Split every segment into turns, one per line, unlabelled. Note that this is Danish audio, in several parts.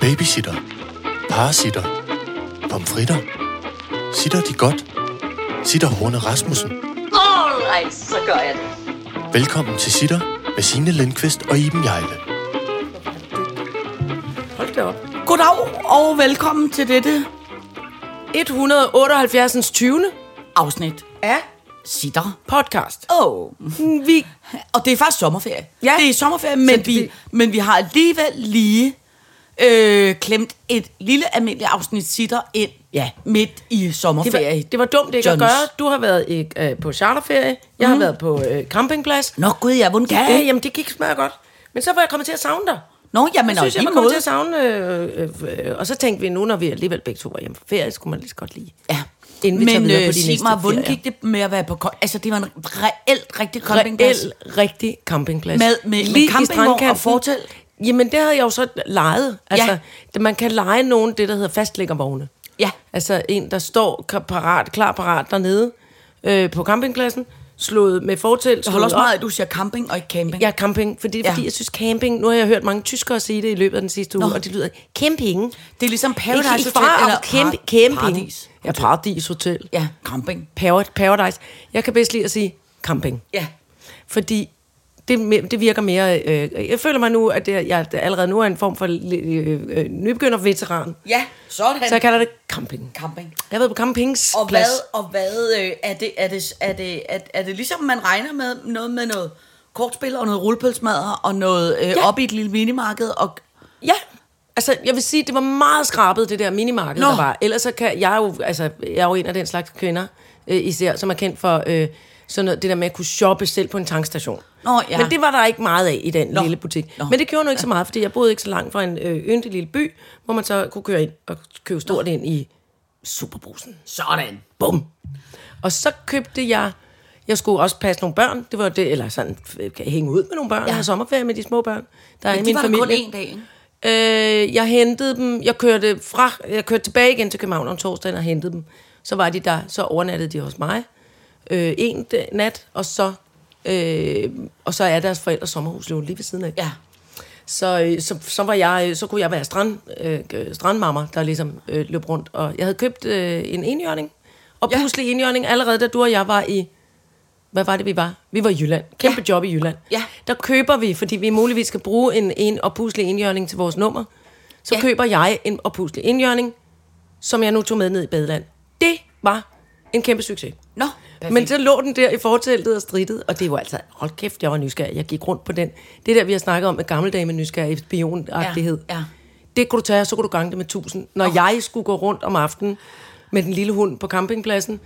Babysitter. Parasitter. Pomfritter. Sitter de godt? Sitter Horne Rasmussen.
Alright, så gør jeg det.
Velkommen til Sitter med Signe Lindqvist og Iben Jejle.
Hold da op.
Goddag og velkommen til dette
178. 20.
afsnit
Ja.
Sitter Podcast.
Oh. Vi...
Og det er faktisk sommerferie.
Ja.
Det er sommerferie,
Så
men,
det-
vi, men vi har alligevel lige øh, klemt et lille almindeligt afsnit Sitter ind
Ja.
midt i
Det var,
sommerferie.
det var dumt ikke
Johns. Mhm.
at gøre. Du har været i, øh, på charterferie. Jeg har været på øh, campingplads.
Nå gud, jeg vundet
Ja, jamen det gik smadret godt. Men så var jeg kommet til at savne dig.
Nå, jamen,
Men jeg synes,
og
jeg
i
var kommet
måde.
til at savne... Øh, øh, øh, og så tænkte vi, nu når vi alligevel begge to var hjemme på ferie, skulle man lige så godt lige...
Ja.
Inden vi tager
men øh,
videre på de
sig
næste
mig, hvordan
ferier.
gik det med at være på... kon- Altså, det var en reelt rigtig campingplads.
Reel, rigtig campingplads.
Med- med- med
Lige i
campingvogn
strandkanten.
og fortelt?
Jamen, det havde jeg jo så lejet. Altså, ja. man kan lege nogen, det der hedder fastlæggervogne.
Ja.
Altså en, der står ka- parat, klar parat dernede øh, på campingpladsen, slået med fortelt.
Jeg holder
slået
også
op.
meget af, at du siger camping og ikke camping.
Ja, camping. Fordi,
Ja.
ja. fordi jeg synes camping, nu har jeg hørt mange tyskere sige det i løbet af den sidste uge,
Nå.
og det lyder camping.
Det er ligesom Paradise
ikke, ikke
Hotel
far,
eller
camp,
Par-
camping.
Paradis
Ja, Paradis Hotel.
Ja, camping.
Par- Paradise. Jeg kan bedst lide at sige camping.
Ja.
Fordi det, er me- det virker mere... Øh, jeg føler mig nu, at det, jeg allerede nu er en form for øh, øh, nybegynder-veteran.
Ja, sådan.
Så jeg kalder det camping.
camping.
Jeg har været på campings
Og hvad, og hvad øh, er, det, er, det, er, det, er, er det ligesom, man regner med noget med noget kortspil og noget rullepølsmadder og noget øh, ja.
Ja.
op i et lille minimarked? Og,
Ja. Altså, jeg vil sige, det var meget skrabet, det der minimarked,
Nå.
Nå. der var. Ellers så kan jeg er jo, altså, jeg er jo en af den slags kvinder, øh, især, som er kendt for øh, sådan noget, det der med at kunne shoppe selv på en tankstation.
Nå, ja.
Men det var der ikke meget af i den
Nå.
Nå. lille butik.
Nå.
Nå. Men det gjorde nu ikke så meget, fordi jeg boede ikke så langt fra en øh, yndig lille by, hvor man så kunne køre ind og købe stort ind i superbrusen.
sådan.
Bum. Og så købte jeg... Jeg skulle også passe nogle børn. Det var det, eller sådan øh, hænge ud med nogle børn.
Ja.
Ja. Have sommerferie med de små børn. Der er
Men de
i min
var der kun
familie.
én dag, ikke?
Øh, jeg hentede dem. Jeg kørte, fra, jeg kørte tilbage igen til København om torsdagen og hentede dem. Så var de der. Så overnattede de hos mig. Øh, en d- nat, og så, øh, og så er deres forældres sommerhus jo lige ved siden af.
Ja.
Så, øh, så, så, var jeg, øh, så kunne jeg være strand, øh, øh, strandmammer, der ligesom øh, løb rundt. Og jeg havde købt øh, en enhjørning, og
Ja.
ja. pludselig enhjørning, allerede da du og jeg var i... Hvad var det, vi var? Vi var i Jylland. Kæmpe ja. job i Jylland.
Ja.
Der køber vi, fordi vi muligvis skal bruge en, en oppuslig indjørning til vores nummer. Så
Ja.
ja. køber jeg en oppuslig indjørning, som jeg nu tog med ned i badeland. Det var en kæmpe succes.
Nå,
Men så lå den der i forteltet og strittede, og det var altså, hold kæft, jeg var nysgerrig. Jeg gik rundt på den. Det der, vi har snakket om med gammeldame nysgerrig spionagtighed.
Ja, ja.
Det kunne du tage, og så kunne du gange det med tusind. Når oh. jeg skulle gå rundt om aftenen med den lille hund på campingpladsen,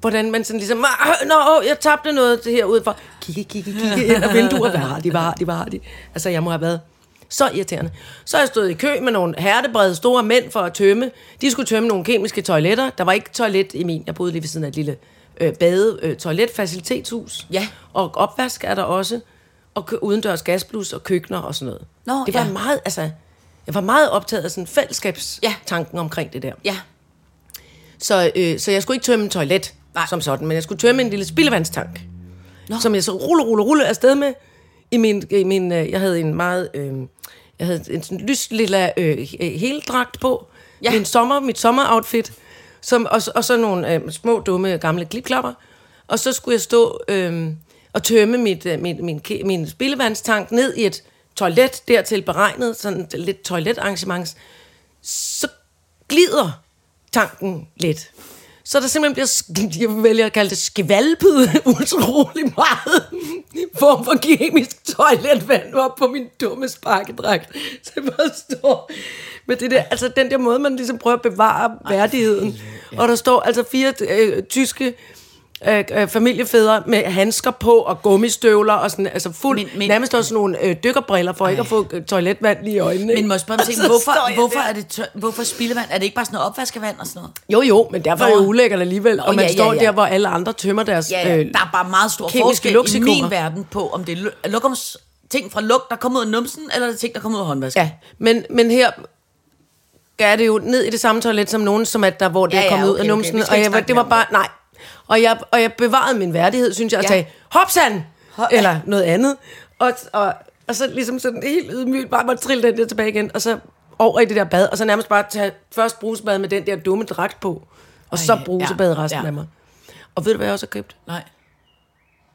hvordan man sådan ligesom, "Ah, nå, åh, jeg tabte noget det her udenfor. Kigge, kigge, kigge ind ad vinduer. Hvad har de, hvad har de, hvad har de? Altså, jeg må have været så irriterende. Så har jeg stået i kø med nogle hertebrede store mænd for at tømme. De skulle tømme nogle kemiske toiletter. Der var ikke toilet i min. Jeg boede lige ved siden af et lille øh, bade, øh, toiletfacilitetshus.
Ja.
Og opvask er der også. Og kø- udendørs gasblus og køkkener og sådan noget.
Nå,
det var
ja.
en meget, altså, jeg var meget optaget af sådan fællesskabstanken ja. omkring det der.
Ja,
Så, øh, så jeg skulle ikke tømme en toilet
Nej.
Nej. som sådan, men jeg skulle tømme en lille spildevandstank, Nå. som jeg så rulle, rulle, rulle afsted med. I min, i min, øh, jeg havde en meget, øh, jeg havde en sådan lyst lille øh, he- heldragt på,
Ja.
ja. min sommer, mit sommeroutfit, som, og, så- og så nogle øh, små, dumme, gamle klipklapper. Og så skulle jeg stå øh, og tømme mit, øh, min, min, ke- min spildevandstank ned i et toilet, dertil beregnet, sådan lidt toiletarrangements så glider tanken lidt. Så der simpelthen bliver, sk- jeg vælger at kalde det skvalpet utrolig meget form for kemisk toiletvand op på min dumme sparkedragt. Så jeg bare står med det der, altså den der måde, man ligesom prøver at bevare værdigheden. Og der står altså fire øh, tyske øh, øh, familiefædre med handsker på og gummistøvler og sådan, altså fuld,
Men-
men,
men-
men, nærmest også nogle øh, dykkerbriller for ikke at få øh, toiletvand lige i øjnene.
men må jeg spørge om
Og
ting,
så står
hvorfor,
jeg
hvorfor,
der.
er det tør, hvorfor spildevand? Er det ikke bare sådan noget opvaskevand og sådan noget?
Jo, jo, men derfor er det
Nå.
jo ulækkert alligevel,
Nå,
og man
ja, ja,
står
ja.
der, hvor alle andre tømmer deres
Ja, ja.
øh,
der er bare meget stor
kemiske
forskel i
luksikunger.
min verden på, om det er lu- lukums, ting fra lugt, der kommer ud af numsen, eller det er ting, der kommer ud af håndvasken.
Ja, men, men her er det jo ned i det samme toilet som nogen, som at der, hvor det
Ja,
er
ja,
kommet ud
okay,
af
okay.
numsen.
Vi skal
og
ikke
jeg, var-
snakke
det
mere
var
om
bare, nej. Og jeg, og jeg bevarede min værdighed, synes jeg, og
Ja.
sagde, hopsan!
Hop-
Eller noget andet. Og, og, og så ligesom sådan helt ydmygt bare måtte trille den der tilbage igen, og så over i det der bad, og så nærmest bare tage først brusebad med den der dumme dragt på, og Ej, så
Ej,
brusebad
ja,
resten
ja.
af mig. Og ved du, hvad jeg også har købt?
Nej.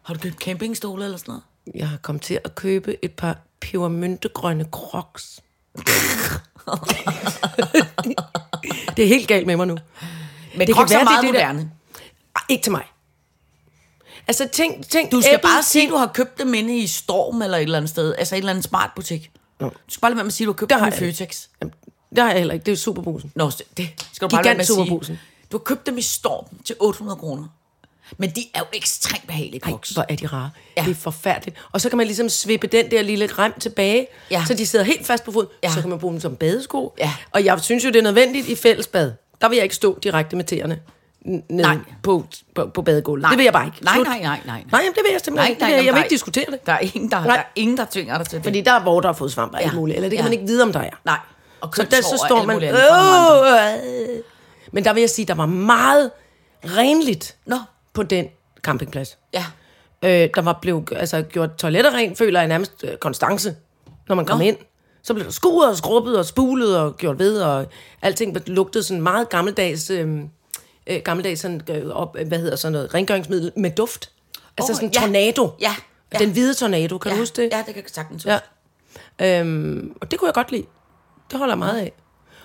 Har du købt campingstole eller sådan noget?
Jeg har kommet til at købe et par pebermyntegrønne crocs. det er helt galt med mig nu.
Men
Det
det
kan
kan
være,
er
det er
meget det,
det der-
moderne.
Ej, ikke til mig. Altså, tænk, tænk
Du skal
Apple
bare sige,
tænk-
at du har købt dem inde i Storm eller et eller andet sted. Altså et eller andet smart butik. Du skal bare lade være med at sige, at du har købt
Der
dem i
har jeg-
Føtex.
Jamen, Det har jeg heller ikke. Det er jo superbrusen.
Nå, så det skal du bare lade være med at
Gigant-superbrugsen.
sige. Du har købt dem i Storm til 800 kroner. Men de er jo ekstremt behagelige,
Ej,
koks.
hvor er de rare. Ja.
Ja.
Det er forfærdeligt. Og så kan man ligesom svippe den der lille rem tilbage, ja.
Ja.
så de sidder helt fast på foden. Ja.
Ja.
Så kan man bruge dem som badesko.
Ja.
Og jeg synes jo, det er nødvendigt i fællesbad. Der vil jeg ikke stå direkte med tæerne n- ned
Nej.
på, på, på badegulvet.
Nej.
Det vil jeg bare ikke.
Nej, nej, nej, nej.
Nej, jamen, det vil jeg simpelthen ikke. Det vil jeg, jeg vil ikke diskutere det.
Der er ingen, der, der,
Nej.
er ingen, der tvinger dig til det.
Fordi der er hvor der har fået svamp og alt
Ja.
muligt. Eller det kan
Ja.
man ikke vide, om der er.
Nej. Og
Så der så
kønshår og
står
alt
man...
muligt andet fra nogle andre.
"Åh, øh." Men der vil jeg sige, der var meget renligt
Nå,
på den campingplads.
ja.
Øh, der var blevet altså, gjort toiletter rent, føler jeg nærmest øh, konstance, når man kom
Nå.
ind. Så blev der skuret og skrubbet og spulet og gjort ved, og alting lugtede sådan meget gammeldags, øh, øh, gammeldags sådan, øh, op, hvad hedder sådan noget, rengøringsmiddel med duft. Altså
Åh,
sådan en
ja.
tornado.
Ja, ja.
Den hvide tornado, kan
ja.
du huske det?
Ja, det kan jeg sagtens
Ja.
ja.
Øhm, og det kunne jeg godt lide. Det holder jeg meget af.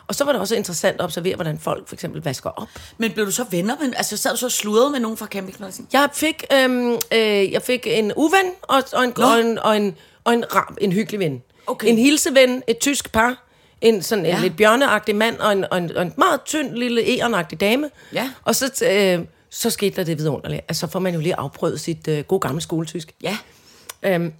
Og så var det også interessant at observere, hvordan folk for eksempel vasker op.
Men blev du så venner med... Altså, sad du så og sludrede med nogen fra campingpladsen?
Jeg fik, øhm, øh, jeg fik en uven og, og, en,
Nå.
og, en, og, en, og en, ram, en hyggelig ven.
Okay.
En hilseven, et tysk par, en sådan en
Ja.
lidt bjørneagtig mand og en, og en, og en meget tynd lille ærenagtig dame.
Ja.
Og så, øh, så skete der det vidunderlige. Altså, så får man jo lige afprøvet sit øh, gode gamle skoletysk.
Ja.
Øhm,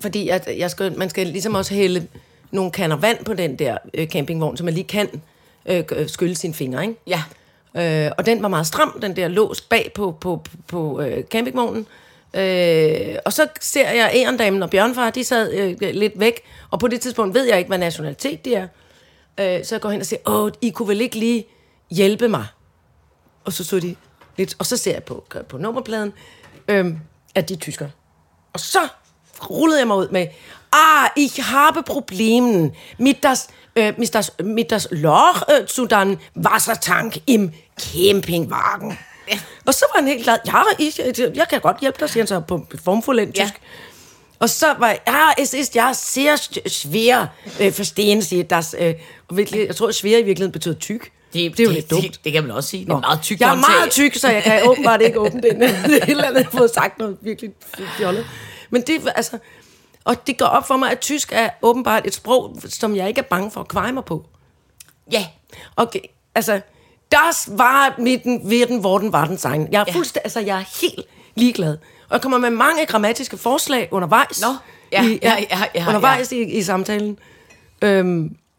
fordi at jeg skal, man skal ligesom også hælde nogle kander vand på den der øh, campingvogn, så man lige kan øh, øh, skylle sine fingre, ikke?
Ja.
Øh, og den var meget stram, den der lås bag på, på, på øh, campingvognen. Øh, og så ser jeg ærendamen og bjørnfar, de sad øh, lidt væk, og på det tidspunkt ved jeg ikke, hvad nationalitet de er. Øh, så jeg går hen og siger, åh, I kunne vel ikke lige hjælpe mig? Og så så de lidt, og så ser jeg på, på nummerpladen, øh, at de er tyskere. Og så rullede jeg mig ud med, ah, ich habe Problemen mit das, äh, mit das, mit das Loch äh, zu den Wassertank im Campingwagen. Og så var han helt glad, ja, ich, jeg kan godt hjælpe dig, siger han så på formfuldendt tysk.
Ja.
Og så var jeg, ja, es ist ja sehr sch- schwer øh, forstehen, siger das. Øh, og virkelig, jeg tror, svær i virkeligheden betyder tyk. det er jo lidt dumt.
Det, det kan man også sige. Det er meget tyk
Jeg er
håndtag.
meget tyk, så jeg kan åbenbart ikke åbne den. Det er et eller andet, jeg har fået sagt noget virkelig fjollet. Men det, altså, og det går op for mig, at tysk er åbenbart et sprog, som jeg ikke er bange for at kveje mig på.
Ja.
Okay, altså, das var mit werden, worden, var den sein. Jeg er,
Ja.
fuldstæ- altså, jeg er helt ligeglad. Og jeg kommer med mange grammatiske forslag undervejs.
Nå, ja, ja, ja, ja,
undervejs I, i samtalen. Øhm,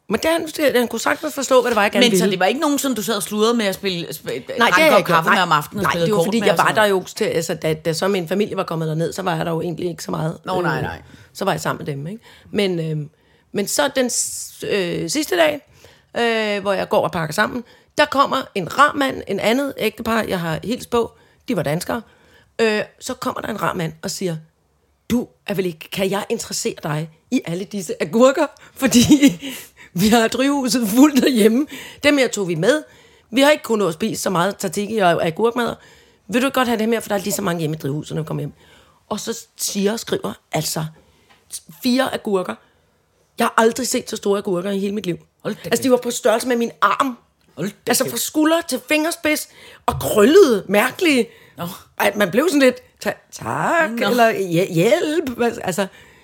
men det, han, han kunne sagtens forstå, hvad det var, jeg gerne
Men
ville.
så det var ikke nogen, som du sad og sludrede med at spille, spille
Nej, det
en
er
kop
jeg ikke.
kaffe med
Nej.
om aftenen og
Nej,
spillede
det var
kort
fordi,
med
jeg
og sådan
var der
noget.
jo, til, altså, da, da så min familie var kommet derned, så var jeg der jo egentlig ikke så meget. øh,
Nå, nej, nej.
Så var jeg sammen med dem, ikke? Men, øh, men så den s- øh, sidste dag, øh, hvor jeg går og pakker sammen, der kommer en rar mand, en andet ægtepar, jeg har hilst på, de var danskere, øh, så kommer der en rar mand og siger, du er vel ikke, kan jeg interessere dig i alle disse agurker? Fordi vi har drivhuset fuldt derhjemme. Dem her tog vi med. Vi har ikke kunnet nå at spise så meget tatiki og agurkmad. Vil du ikke godt have dem her, for der er lige så mange hjemme i drivhuset, når vi kommer hjem. Og så siger og skriver altså fire agurker. Jeg har aldrig set så store agurker i hele mit liv.
Hold da
altså, de var på størrelse med min arm.
Hold da
Altså
kæft.
fra skulder til fingerspids og krøllede, mærkelige.
Nå.
At man blev sådan lidt, "Ta- tak,
Nå.
eller "Hj- hjælp. Altså,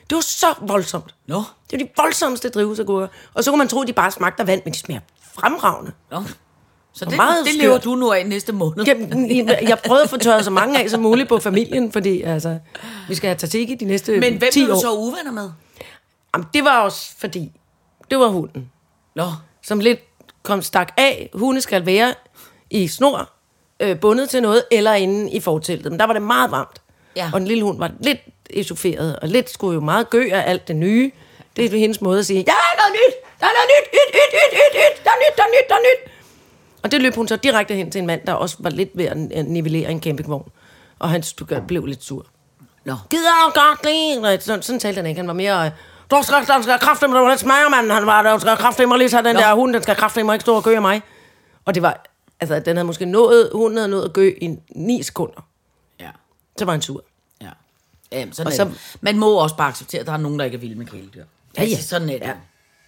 det var så voldsomt.
Nå.
Det var de voldsomste drivhusagurker. Og så kunne man tro, at de bare smagte af vand, men de smager fremragende.
Nå. Så det,
meget
det lever
skørt.
du nu af næste måned.
Jamen, jeg- jeg prøvede at få tørret så mange af som muligt på familien, fordi altså, vi skal have tatiki de næste
Men hvem
10
blev
år.
du så uvenner med?
Jamen, det var også fordi, det var hunden,
Nå.
som lidt kom stak af. Hunde skal være i snor, øh, bundet til noget, eller inde i forteltet. Men der var det meget varmt.
Ja.
Og den lille hund var lidt esoferet, og lidt skulle jo meget gø af alt det nye. Det er hendes måde at sige, der er noget nyt, der er noget nyt, nyt, nyt, nyt, nyt, nyt, der er nyt, der er nyt, der er nyt. Og det løb hun så direkte hen til en mand, der også var lidt ved at nivellere en campingvogn. Og han blev lidt sur
Nå.
gider jeg godt lide. Nej, sådan, sådan talte han ikke. Han var mere... øh, Du skal, den skal kræfte mig, den smager, mand. Han var, den skal kræfte mig lige så den
Nå.
der hund, den skal kræfte mig ikke stå og gø af mig. Og det var, altså den havde måske nået, hunden havde nået at gø i 9 sekunder.
Ja.
Så var han sur.
ja. Jamen, sådan
Og
og
så-
så, man må også bare acceptere, at der er nogen, der ikke er vilde med kæledyr.
Ja,
Altså,
ja.
Sådan er det.
Ja.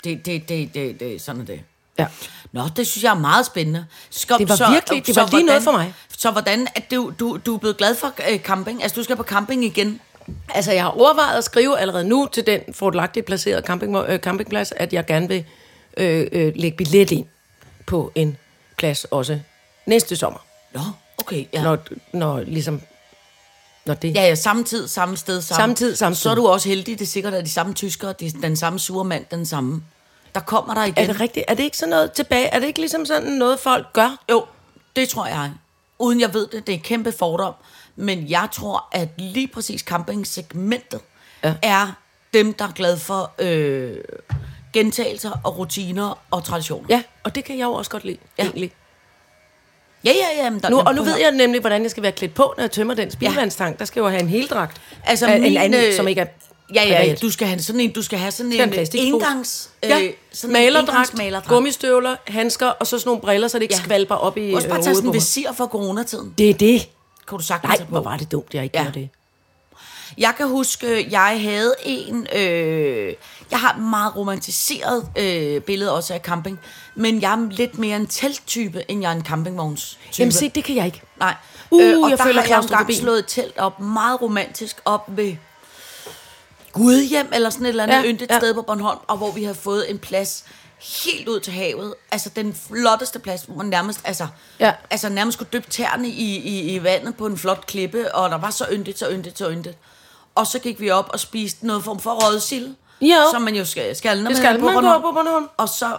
Det, det, det, det, det. Sådan er det.
Ja.
Nå, det synes jeg er meget spændende. Skal,
Det var virkelig- det var lige noget for mig.
Så hvordan, at du, du, du er blevet glad for øh, camping? Altså, du skal på camping igen?
Altså, jeg har overvejet at skrive allerede nu til den fordelagtigt placerede camping, øh, campingplads, at jeg gerne vil øh, øh, lægge billet ind på en plads også næste sommer.
Nå, okay, ja.
Ja. Når, når ligesom... Når det...
Ja, ja, samme tid, samme sted, samme.
Samme tid, samme
Så er
sted.
du også heldig, det er sikkert, at de samme tyskere, det er den samme sure mand, den samme. Der kommer der igen.
Er det rigtigt? Er det ikke sådan noget tilbage? Er det ikke ligesom sådan noget, folk gør?
Jo, det tror jeg. Uden jeg ved det, det er et kæmpe fordom. Men jeg tror, at lige præcis campingsegmentet ja. er dem, der er glade for øh, gentagelser og rutiner og traditioner.
Ja, og det kan jeg jo også godt lide, ja.
Ja.
egentlig.
ja, ja. ja men der,
Nu,
men
og nu
prøv at
ved jeg nemlig, hvordan jeg skal være klædt på, når jeg tømmer den spildvandstank. Ja. Der skal jeg jo have en heldragt.
Altså,
Af en
min,
anden,
øh,
som ikke er
Ja, ja, ja,
privat.
du skal have sådan en, du skal have sådan
Den
en øh,
plastikpose.
engangs... øh,
ja, sådan malerdragt,
malerdragt.
gummistøvler, handsker og så sådan nogle briller, så det ikke ja.
Ja.
skvalper op i
Også
øh,
bare tage
hovedet
sådan
på
en
mig.
visir for coronatiden.
Det er det.
Kan du sagtens
Nej,
tage på.
hvor var det dumt, jeg ikke ja.
Ja.
gjorde det.
Jeg kan huske, jeg havde en... Øh, jeg har et meget romantiseret øh, billede også af camping, men jeg er lidt mere en telttype, end jeg er en campingvognstype.
Jamen se, det kan jeg ikke.
Nej. Øh,
Uh,
og
jeg
der har jeg
føler
engang
klaustrofobi.
slået et telt op, meget romantisk, op ved Gudhjem, eller sådan et eller andet
Ja,
ja, yndigt
ja.
ja. sted på Bornholm, og hvor vi havde fået en plads helt ud til havet. Altså den flotteste plads, hvor man nærmest, altså,
Ja.
altså nærmest kunne dyppe tæerne i, i, i vandet på en flot klippe, og der var så yndigt, så yndigt, så yndigt. Og så gik vi op og spiste noget form for rødsild,
Jo.
som man jo skal, skal når
Det
man
skal
er på
man gå
Bornholm.
på Bornholm.
Og så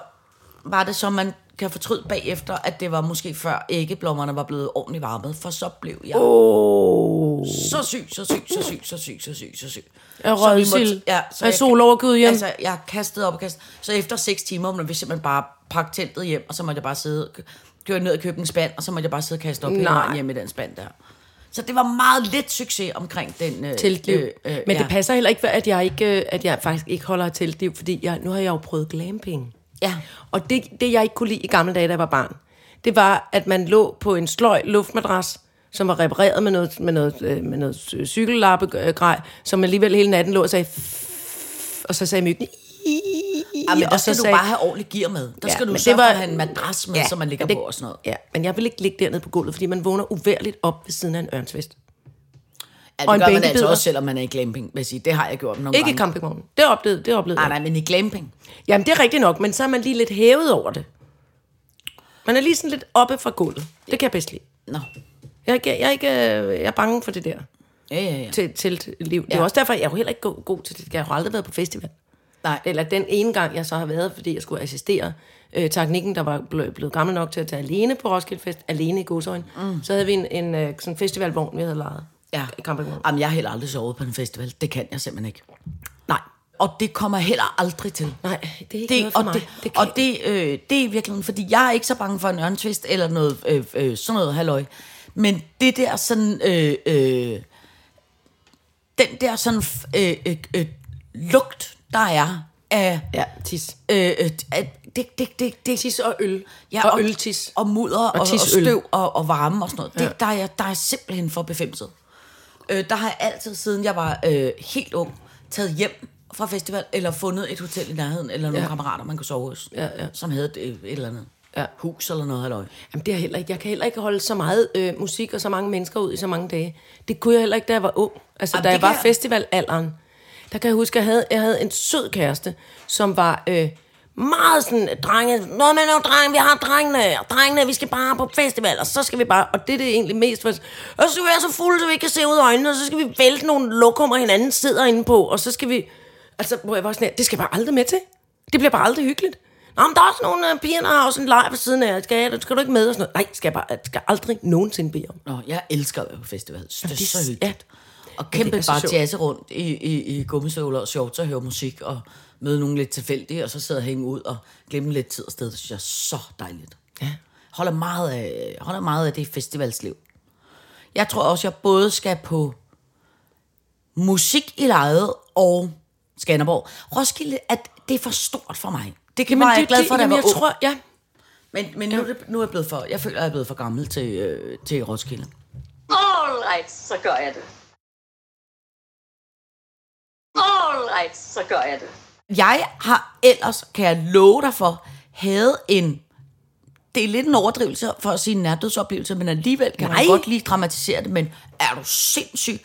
var det så, man kan fortryde bagefter, at det var måske før æggeblommerne var blevet ordentligt varmet, for så blev jeg oh.
Oh.
så syg, så syg, så syg, så syg, så syg, så syg.
Af
Så vi
rødsild.
måtte- Ja, så
Af
jeg,
sol over Gudhjem.
Altså, jeg kastede op og kastede. Så efter 6 timer, måtte vi simpelthen bare pakke teltet hjem, og så måtte jeg bare sidde, køre ned og købe en spand, og så måtte jeg bare sidde og kaste op hele
Nej.
vejen hjemme i den spand der. Så det var meget lidt succes omkring den... Øh,
Teltliv.
Øh, øh,
Men
ja.
det passer heller ikke, at jeg, ikke, øh, at jeg faktisk ikke holder af teltliv, fordi jeg, nu har jeg jo prøvet glamping.
Ja.
Og det, det, jeg ikke kunne lide i gamle dage, da jeg var barn, det var, at man lå på en sløj luftmadras, som var repareret med noget, med noget, øh, med noget øh, cykellappegrej, som alligevel hele natten lå og sagde... "Fff", Og så sagde myggen...
Ja, men der
og
skal
så
du
sagde-
bare have ordentlig gear med. Der
Ja,
skal
men
du
det
sørge
var-
for at have en madras med, ja, som man ligger
men det-
på og sådan noget.
Ja, men jeg vil ikke ligge dernede på gulvet, fordi man vågner uværligt op ved siden af en ørnsvest.
Ja, det
Og
og
en
gør man altså
bænkebider.
også, selvom man er i glamping, vil jeg sige. Det har jeg gjort nogle
Ikke i
gange.
campingvognen. Det oplevede, det oplevede
Nej,
jeg.
nej, men i glamping.
Jamen, det er rigtigt nok, men så er man lige lidt hævet over det. Man er lige sådan lidt oppe fra gulvet. Det kan jeg bedst lide.
Nå.
Jeg er, ikke, jeg er, ikke, øh, jeg er bange for det der
Ja, ja, ja.
til, til liv. Det er
Ja.
også derfor, jeg er jo heller ikke go- god til det. Jeg har jo aldrig været på festival.
Nej,
Eller den ene gang, jeg så har været, fordi jeg skulle assistere øh, teknikken, der var ble- blevet gammel nok til at tage alene på Roskilde Fest, alene i godsøjne, mm. så havde vi en, en øh, sådan festivalvogn, vi havde lejet.
ja. Ah,
I campingvogn.
Jamen, jeg har heller aldrig sovet på en festival. Det kan jeg simpelthen ikke. Nej. Og det kommer jeg heller aldrig til.
Nej, det er ikke det, noget for
og
mig.
Det,
Det kan-
og det, øh, det er virkelig, fordi jeg er ikke så bange for en ørntvist eller noget øh, øh, sådan noget halløj. Men det der sådan... Øh, øh, den der sådan f- øh, øh, øh, lugt, der er af...
Ja, tis.
Øh, øh, at det, det, det, det,
Tis og øl.
Ja,
og, og øltis.
Og mudder og, og, og
tisøl.
støv og, og varme og sådan noget. Det, ja. der, er jeg, der er jeg simpelthen for befemset. Øh, der har jeg altid, siden jeg var øh, helt ung, taget hjem fra festival, eller fundet et hotel i nærheden, eller nogle
Ja.
ja. kammerater, man kunne sove hos,
Ja, ja.
som havde et, øh, et eller andet
Ja.
hus eller noget. Halløj.
Jamen, det er jeg heller ikke. Jeg kan heller ikke holde så meget øh, musik og så mange mennesker ud i så mange dage. Det kunne jeg heller ikke, da jeg var ung. Altså,
Jamen,
da
det
jeg var
kan jeg-
festivalalderen, der kan jeg huske, at jeg havde, jeg havde en sød kæreste, som var øh, meget sådan, drenge, nå, men nå, drenge, vi har drengene, og drengene, vi skal bare på festival, og så skal vi bare, og det, det er egentlig mest for, og så skal vi være så fulde, så vi ikke kan se ud af øjnene, og så skal vi vælte nogle lokummer, hinanden sidder inde på, og så skal vi, altså, hvor jeg var sådan her, det skal jeg bare aldrig med til. Det bliver bare aldrig hyggeligt. Nå, men der er også nogle øh, piger, der har også en leg ved siden af. Skal, jeg, skal du ikke med? Og sådan noget. Nej, skal jeg bare, skal jeg aldrig nogensinde bede om.
Nå, jeg elsker at være på festival. Det er
det-
så hyggeligt.
ja.
Og
det er
kæmpe
så
bare
sjovt.
jazze rundt i, i, i gummistøvler og shorts og høre musik og møde nogen lidt tilfældige, og så sidde og hænge ud og glemme lidt tid og sted. Det synes jeg er så dejligt. Ja. Holder meget af, holder meget af det festivalsliv. Jeg tror også, jeg både skal på musik i lejet og Skanderborg. Roskilde, at det er for stort for mig. Det kan
Jamen,
man
det,
jeg glad for, at jeg
jamen,
var
jeg
ung.
tror, ja.
Men, men nu, er det- nu er jeg blevet for, jeg føler, at jeg er blevet for gammel til, øh, til Roskilde.
All right, så gør jeg det. All right, så gør jeg det.
Jeg har ellers, kan jeg love dig for, havde en... Det er lidt en overdrivelse for at sige en nærdødsoplevelse, men alligevel kan Nej.
Nej.
man godt lige dramatisere det, men er du sindssyg?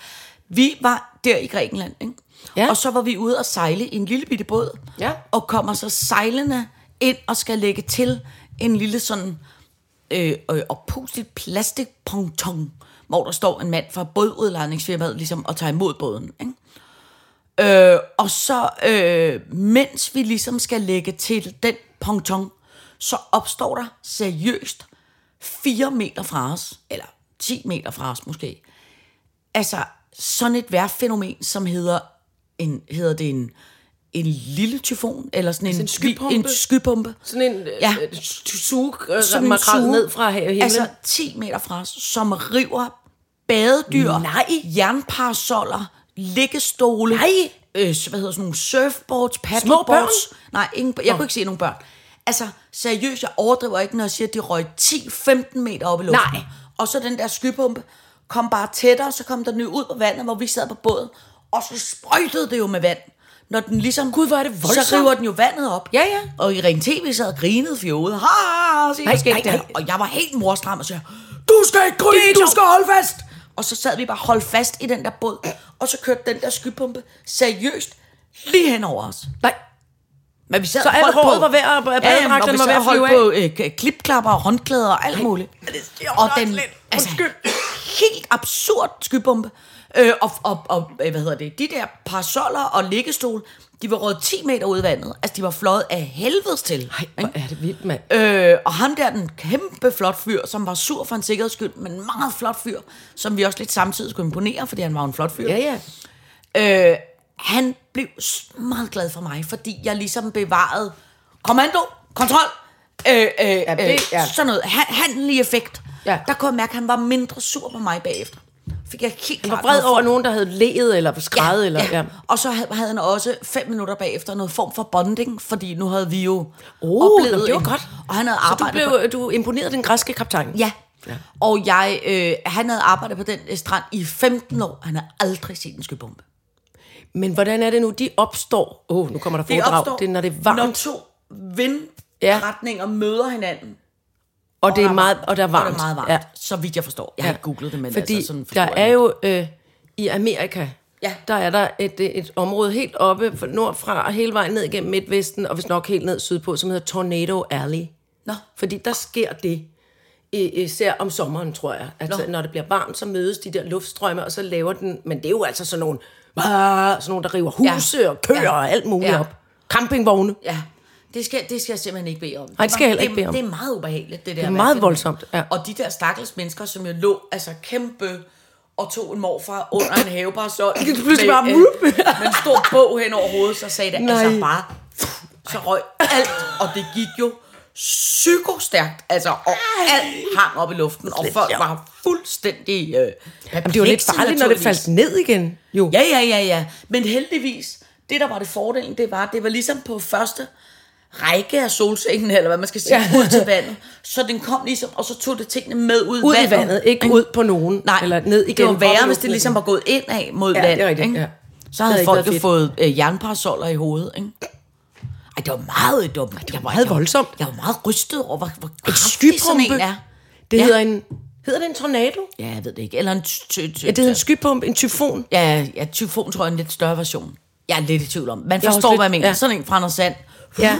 Vi var der i Grækenland, ikke?
Ja.
og så var vi ude og sejle i en lille bitte båd,
Ja.
og kommer så sejlende ind og skal lægge til en lille sådan øh, øh, oppustet plastikponton, hvor der står en mand fra bådudlejningsfirmaet ligesom og tager imod båden. Ikke? Øh, og så, øh, mens vi ligesom skal lægge til den ponton, så opstår der seriøst 4 meter fra os, eller 10 meter fra os måske, altså sådan et værfænomen, som hedder, en, hedder det en, en lille tyfon, eller sådan en,
Altså en skypumpe?
En skypumpe.
Sådan en ja.
Ja.
øh, suge
Sådan
øh,
en
makrel
suge.
ned fra ha- himlen.
Altså 10 meter fra os, som river badedyr,
Nej.
jernparasoller, liggestole,
Nej.
Øh, hvad hedder sådan nogle surfboards, paddleboards. Nej, ingen, jeg kunne ikke se nogen børn. Altså, seriøst, jeg overdriver ikke, når jeg siger, at de røg 10-15 meter op i luften.
Nej.
Og så den der skypumpe kom bare tættere, så kom den jo ud på vandet, hvor vi sad på båden, og så sprøjtede det jo med vand. Når den ligesom...
Gud, hvor er det voldsomt.
Så river den jo vandet op.
Ja, ja.
Og i Ring TV sad og grinede fjodet. Ha, ha, ha, se,
Nej,
nej, nej,
nej,
nej.
nej.
Og jeg var helt morstram og sagde, du skal ikke grine, du skal holde fast. Og så sad vi bare holdt fast i den der båd, og så kørte den der skypumpe seriøst lige hen over os.
Nej,
Men vi sad
Så
og
alt
holdt
håret
på-
var ved at- badedragten
og vi
var
sad
ved at
og holdt
flyve
på øh, k- klipklapper og håndklæder og alt muligt. og den, altså, helt absurd skybombe. Øh, og, og, og, øh, hvad hedder det, de der parasoller og liggestol, de var røget 10 meter ud i vandet. Altså, de var fløjet af helvedes til.
Ej, hvor er det vildt, mand.
Øh, og ham der, den kæmpe flot fyr, som var sur for en sikkerheds skyld, men en meget flot fyr, som vi også lidt samtidig skulle imponere, fordi han var jo en flot fyr.
Ja, ja.
Øh, han blev s- meget glad for mig, fordi jeg ligesom bevarede kommando, kontrol, øh, øh, ja,
det-
det, ja.
ja.
sådan noget, han, handelig effekt.
Ja.
Der kunne jeg mærke, at han var mindre sur på mig bagefter. Fik jeg helt
Han
klart
var vred
noget
over
form-
nogen, der havde leget eller skrædet.
Ja,
eller,
ja. ja. Og så hav- havde han også fem minutter bagefter noget form for bonding, fordi nu havde vi jo
Oh,
oplevet
nå, det var
en-
godt.
Og han havde
Så du,
arbejdet på-
blev, øh, du imponerede den græske kaptajn?
Ja. ja. Og jeg, øh, han havde arbejdet på den øh, strand i 15 år. Han havde aldrig set en skybombe.
Men hvordan er det nu, de opstår? Åh, oh, nu kommer der foredrag. det er, når det er varmt,
Når to vindretninger ja. møder hinanden.
og, det er
der
meget, og der er varmt.
Og det er meget varmt, ja. så vidt jeg forstår. Jeg har ikke googlet det, men
Fordi
altså sådan
der
forstår jeg
er jo øh, i Amerika,
Ja.
der er der et, øh, et område helt oppe fra- nordfra og hele vejen ned igennem Midtvesten, og hvis nok helt ned sydpå, som hedder Tornado Alley.
Nå.
Fordi der sker det, i- især om sommeren, tror jeg. Altså,
Nå.
når det bliver varmt, så mødes de der luftstrømme, og så laver den... Men det er jo altså sådan nogle, ah, sådan nogle der river huse
Ja.
ja. og køer
Ja.
ja. og alt muligt
Ja.
ja. op. Campingvogne.
Ja, det skal, det skal jeg simpelthen ikke bede om.
Nej, det skal jeg heller ikke
det,
bede om.
Det er meget ubehageligt, det der. Det
er meget voldsomt, ja.
Og de der stakkels mennesker, som jo lå altså kæmpe og tog en morfar under en haveparasol.
Pludselig bare,
med,
vup.
øh, med en stor bog hen over hovedet, så sagde det Nej. altså
Nej.
bare, så røg alt, og det gik jo psykostærkt, altså, og alt hang op i luften, og folk var fuldstændig øh,
Jamen, det er jo lidt farligt, når det faldt ned igen. Jo.
Ja, ja, ja, ja. Men heldigvis, det der var det fordelen, det var, det var ligesom på første række af solsengen, eller hvad man skal sige, ja.
Ja.
ud til vandet. Så den kom ligesom, og så tog det tingene med ud,
Ud i vandet, ikke ud på nogen.
Nej,
eller ned igen.
det var
op i
værre, hvis
luften
det ligesom
igen.
var gået ind af mod
Ja,
land.
det er rigtigt,
ikke?
ja.
Så
Det
havde
havde
folk
ikke
jo
været
fået øh, jernparasoller i hovedet, ikke? Ej, det var meget dumt. Det var
meget voldsomt.
Jeg var meget rystet over, hvor, hvor kraftig sådan
skypumpe.
en er.
Det
Ja.
hedder en... Hedder det en tornado?
Ja, jeg ved det ikke. Eller en... T- t- t-
Ja, det hedder en skypump, en tyfon.
Ja, ja, tyfon tror jeg er en lidt større version. Jeg er lidt i tvivl om. Man
Jeg er
forstår,
også
hvad jeg
lidt-
mener. Ja.
ja.
Sådan en fra Anders Sand.
Ja,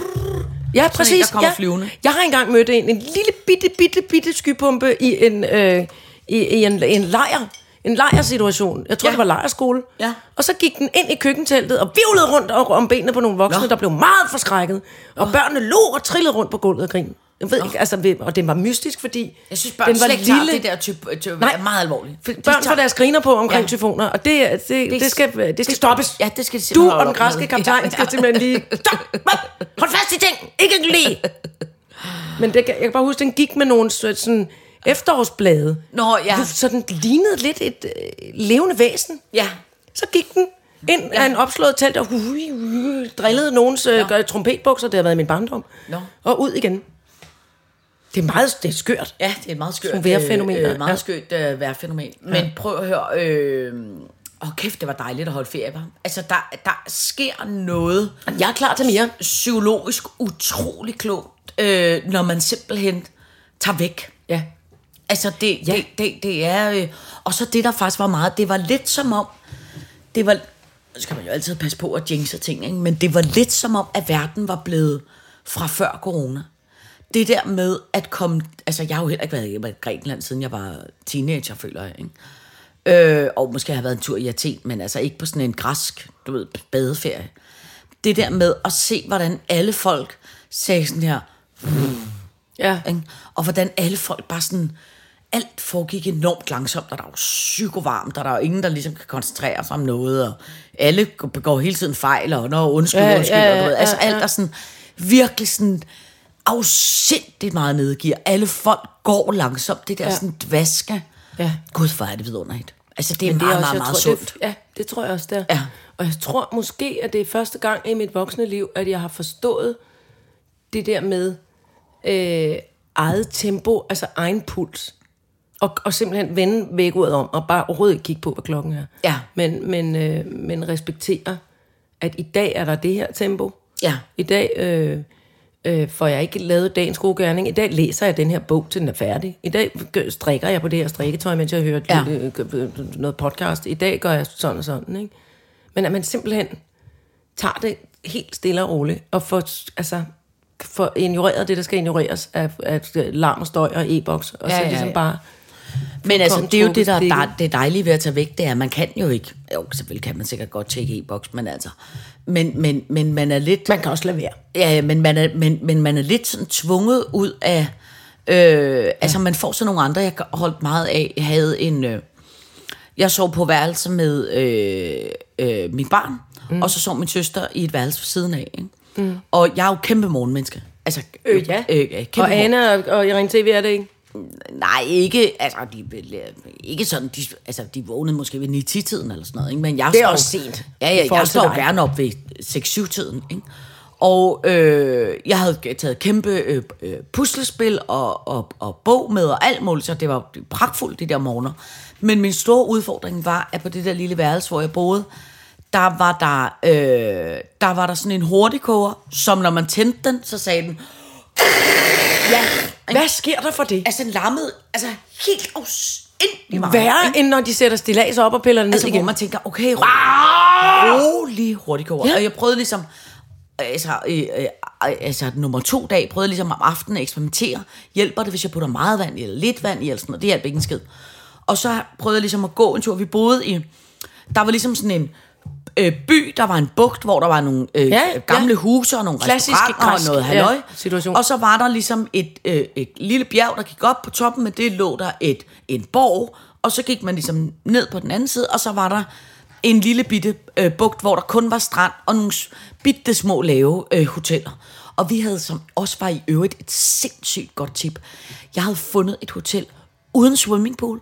ja præcis.
der kommer
ja.
flyvende.
Jeg har engang mødt en, en lille bitte, bitte, bitte skypumpe i en, øh, i, i en, en lejr. En lejersituation. Jeg tror,
Ja.
ja. det var lejerskole.
Ja.
Og så gik den ind i køkkenteltet og vivlede rundt og- om benene på nogle voksne,
Nå.
Nå. der blev meget forskrækket. Og børnene lå og trillede rundt på gulvet og grin. Jeg ved ikke, altså, ved- og den var mystisk, fordi
Jeg synes, børn den var slet ikke lille. det der type, type Nej.
Nej.
er meget alvorligt.
For børn får deres griner på omkring
Ja.
ja. tyfoner, og det, det, det, det, skal, det skal stoppes.
Ja, det skal de simpelthen
Du
holde
og den
op
græske
med.
kaptajn
Ja.
skal simpelthen lige... Stop! Hop! Hold fast i ting! Ikke lige! Men det, kan- jeg kan bare huske, den gik med nogle så- sådan efterårsblade.
Nå, ja.
Så den lignede lidt et øh, levende væsen.
Ja.
Så gik den, Ind ja. af en opslået telt og hui, hui, drillede nogens ja. trompetbukser, det har været i min barndom.
Nå.
Og ud igen. Det er meget det er skørt.
Ja, det er et meget skørt
Sådan vejrfænomener,
Øh, øh, meget
ja.
skørt øh, vejrfænomen. Men prøv at høre... Øh, Åh, kæft, det var dejligt at holde ferie, var. Altså, der, der sker noget
Jeg er klar til mere.
psykologisk utrolig klogt, øh, når man simpelthen tager væk.
Ja.
Altså, det, ja. det, det, det er... Øh, og så det, der faktisk var meget, det var lidt som om... Det var... Så skal man jo altid passe på at jinxe ting, ikke? men det var lidt som om, at verden var blevet fra før corona. Det der med at komme... Altså, jeg har jo heller ikke været hjemme i Grækenland, siden jeg var teenager, føler jeg, ikke? Øh, og måske har jeg været en tur i Athen, men altså ikke på sådan en græsk, du ved, badeferie. Det der med at se, hvordan alle folk sagde sådan her,
Ja.
ikke? Og hvordan alle folk bare sådan... Alt foregik enormt langsomt, og der er jo psykovarmt, og der er jo ingen, der ligesom kan koncentrere sig om noget, og alle begår hele tiden fejl, og når undskyld,
Ja,
ja, undskyld,
ja,
ja, og du ved,
ja,
altså
ja.
alt er sådan virkelig sådan afsindigt meget nedgiver. Alle folk går langsomt, det der
Ja.
ja. sådan dvaske.
Ja.
Gud, hvor er det vidunderligt. Altså det er
Men
meget, meget,
jeg
meget
tror,
sundt.
Det, ja, det tror jeg også, der.
Ja.
Og jeg tror måske, at det er første gang i mit voksne liv, at jeg har forstået det der med øh, eget tempo, altså egen puls. Og, og simpelthen vende vægordet om, og bare overhovedet ikke kigge på, hvad klokken er.
Ja.
Men, men, øh, men respektere, at i dag er der det her tempo.
Ja.
I dag øh, øh, får jeg ikke lavet dagens gode gerning. I dag læser jeg den her bog, til den er færdig. I dag gø- strikker jeg på det her strikketøj, mens jeg hører et
Ja.
lille, øh, gø- øh, noget podcast. I dag gør jeg sådan og sådan. Ikke? Men at man simpelthen tager det helt stille og roligt, og får, altså, får ignoreret det, der skal ignoreres af, af øh, larm og støj og e-boks, og ja,
Ja,
så
ja,
ligesom
ja.
bare...
Men altså,
Fuldkommen
det er jo det, der,
trukket
der det dejlige ved at tage væk, det er, at man kan jo ikke. Jo, selvfølgelig kan man sikkert godt tjekke e-boks, men altså... Men, men, men man er lidt...
Man kan også lade være.
Ja, ja, men man er, men, men man er lidt sådan tvunget ud af... Øh, altså, man får sådan nogle andre, jeg holdt meget af. Jeg havde en... Øh, jeg sov på værelse med øh, øh, mit barn, mm. og så sov min søster i et værelse ved siden af. Ikke? Mm. Og jeg er jo kæmpe morgenmenneske. Altså,
Øh, ja.
Øh, øh, kæmpe
og
morgen-
Anna og, og Irene TV er det ikke?
Nej, ikke, altså, de, ikke sådan, de, altså, de vågnede måske ved 9-10-tiden eller sådan noget, ikke? men jeg
Det er
står-
også sent,
Ja,
i
ja,
forhold
jeg
til
står
dig.
gerne op ved 6-7-tiden, ikke? Og øh, jeg havde taget kæmpe øh, øh, puslespil og, og, og bog med og alt muligt, så det var pragtfuldt de der morgener. Men min store udfordring var, at på det der lille værelse, hvor jeg boede, der var der, øh, der var der sådan en hurtigkoger, som når man tændte den, så sagde den... Ja,
Hvad sker der for det?
altså lammet, altså helt afsindelig meget.
Værre, end når de sætter stilas op og piller det ned
Altså,
igen. Ah!
hvor man tænker, okay, ro- rolig hurtigkoger. Ja. Og jeg prøvede ligesom, altså, øh, øh, altså nummer to dag, prøvede ligesom om aftenen at eksperimentere. Hjælper det, hvis jeg putter meget vand i, eller lidt vand i, eller sådan noget? Det hjalp ikke en skid. Og så prøvede jeg ligesom at gå en tur. Vi boede i, der var ligesom sådan en øh, by, der var en bugt, hvor der var nogle øh,
Ja,
ja,
ja.
gamle huse og nogle
Klassiske
restauranter og
græsk,
noget
ja,
halløj.
situation.
Og og så var der ligesom et, øh, et lille bjerg, der gik op på toppen, men det lå der et, en borg, og så gik man ligesom ned på den anden side, og så var der en lille bitte øh, bugt, hvor der kun var strand og nogle s- bitte små lave øh, hoteller. Og vi havde, som også var i øvrigt, et sindssygt godt tip. Jeg havde fundet et hotel uden swimmingpool,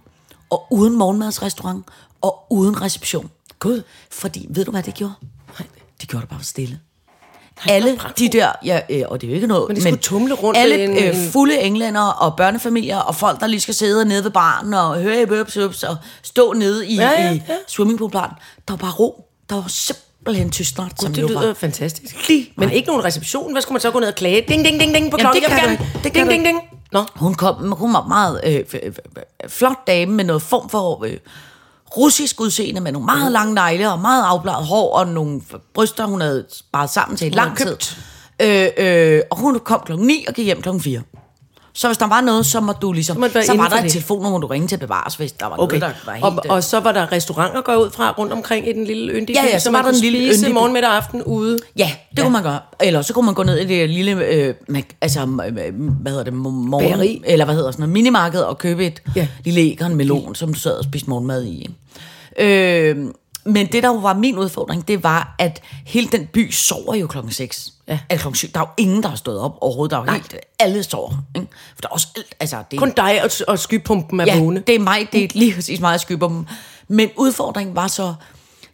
og uden morgenmadsrestaurant, og uden reception. Gud. Fordi, ved du hvad det gjorde? Nej. Det gjorde det bare stille alle de der, ja, øh, og det er jo ikke noget,
Men de skulle tumle rundt i
alle
en-
øh,
en-
fulde englænder og børnefamilier og folk, der lige skal sidde nede ved baren og høre i bøbs, bøbs og stå nede i,
Ja,
ja,
ja,
ja,
ja.
i swimmingpoolbaren. Der var bare ro. Der var simpelthen tystnart, som
Det
jo
lyder
var.
fantastisk.
Lige
Men
mig.
ikke nogen reception. Hvad skulle man så gå ned og klage? Ding, ding, ding, ding på klokken.
det
Jeg
kan
vil
du
gerne.
ikke. Det
ding,
kan
ding,
du
ding. Nå,
Hun kom, hun var meget øh, f- f- flot dame med noget form for øh, russisk udseende, med nogle
Mhm.
meget lange negle og meget afbladet hår og nogle f- bryster, hun havde sparet sammen til i
havde
lang tid.
købt.
Øh, øh, og hun kom klokken 9 og gik hjem klokken 4. Så hvis der var noget, så må du ligesom...
Så må det være
Så
inden
var
for
der
det.
et telefonnummer, du ringede til bevares, hvis der var
okay.
noget, der var helt...
Og,
øh,
og så var der restauranter, går jeg ud fra, rundt omkring i den lille yndige
Ja, ja,
by,
så
så
var
man
der en
kunne
lille
spise
yndig by.
morgenmiddag og aften ude.
Ja, det ja. kunne man gøre. Eller så kunne man gå ned i det lille, øh, Mac- altså, øh, hvad hedder det, mo- morgen,
Bageri.
eller hvad hedder sådan noget, minimarked og købe et
Ja.
ja. lille æg og en melon, som du sad og spiste morgenmad i. ikke? Øh, men det, der jo var min udfordring, det var, at hele den by sover jo klokken 6.
Ja.
Eller klokken 7. Der er jo ingen, der har stået op overhovedet. Der er jo helt, alle sover. Ikke? For der er også alt, altså, det er
Kun dig og, og skypumpen er vågne.
det er mig, det er lige præcis mig, jeg skybber dem. Men udfordringen var så,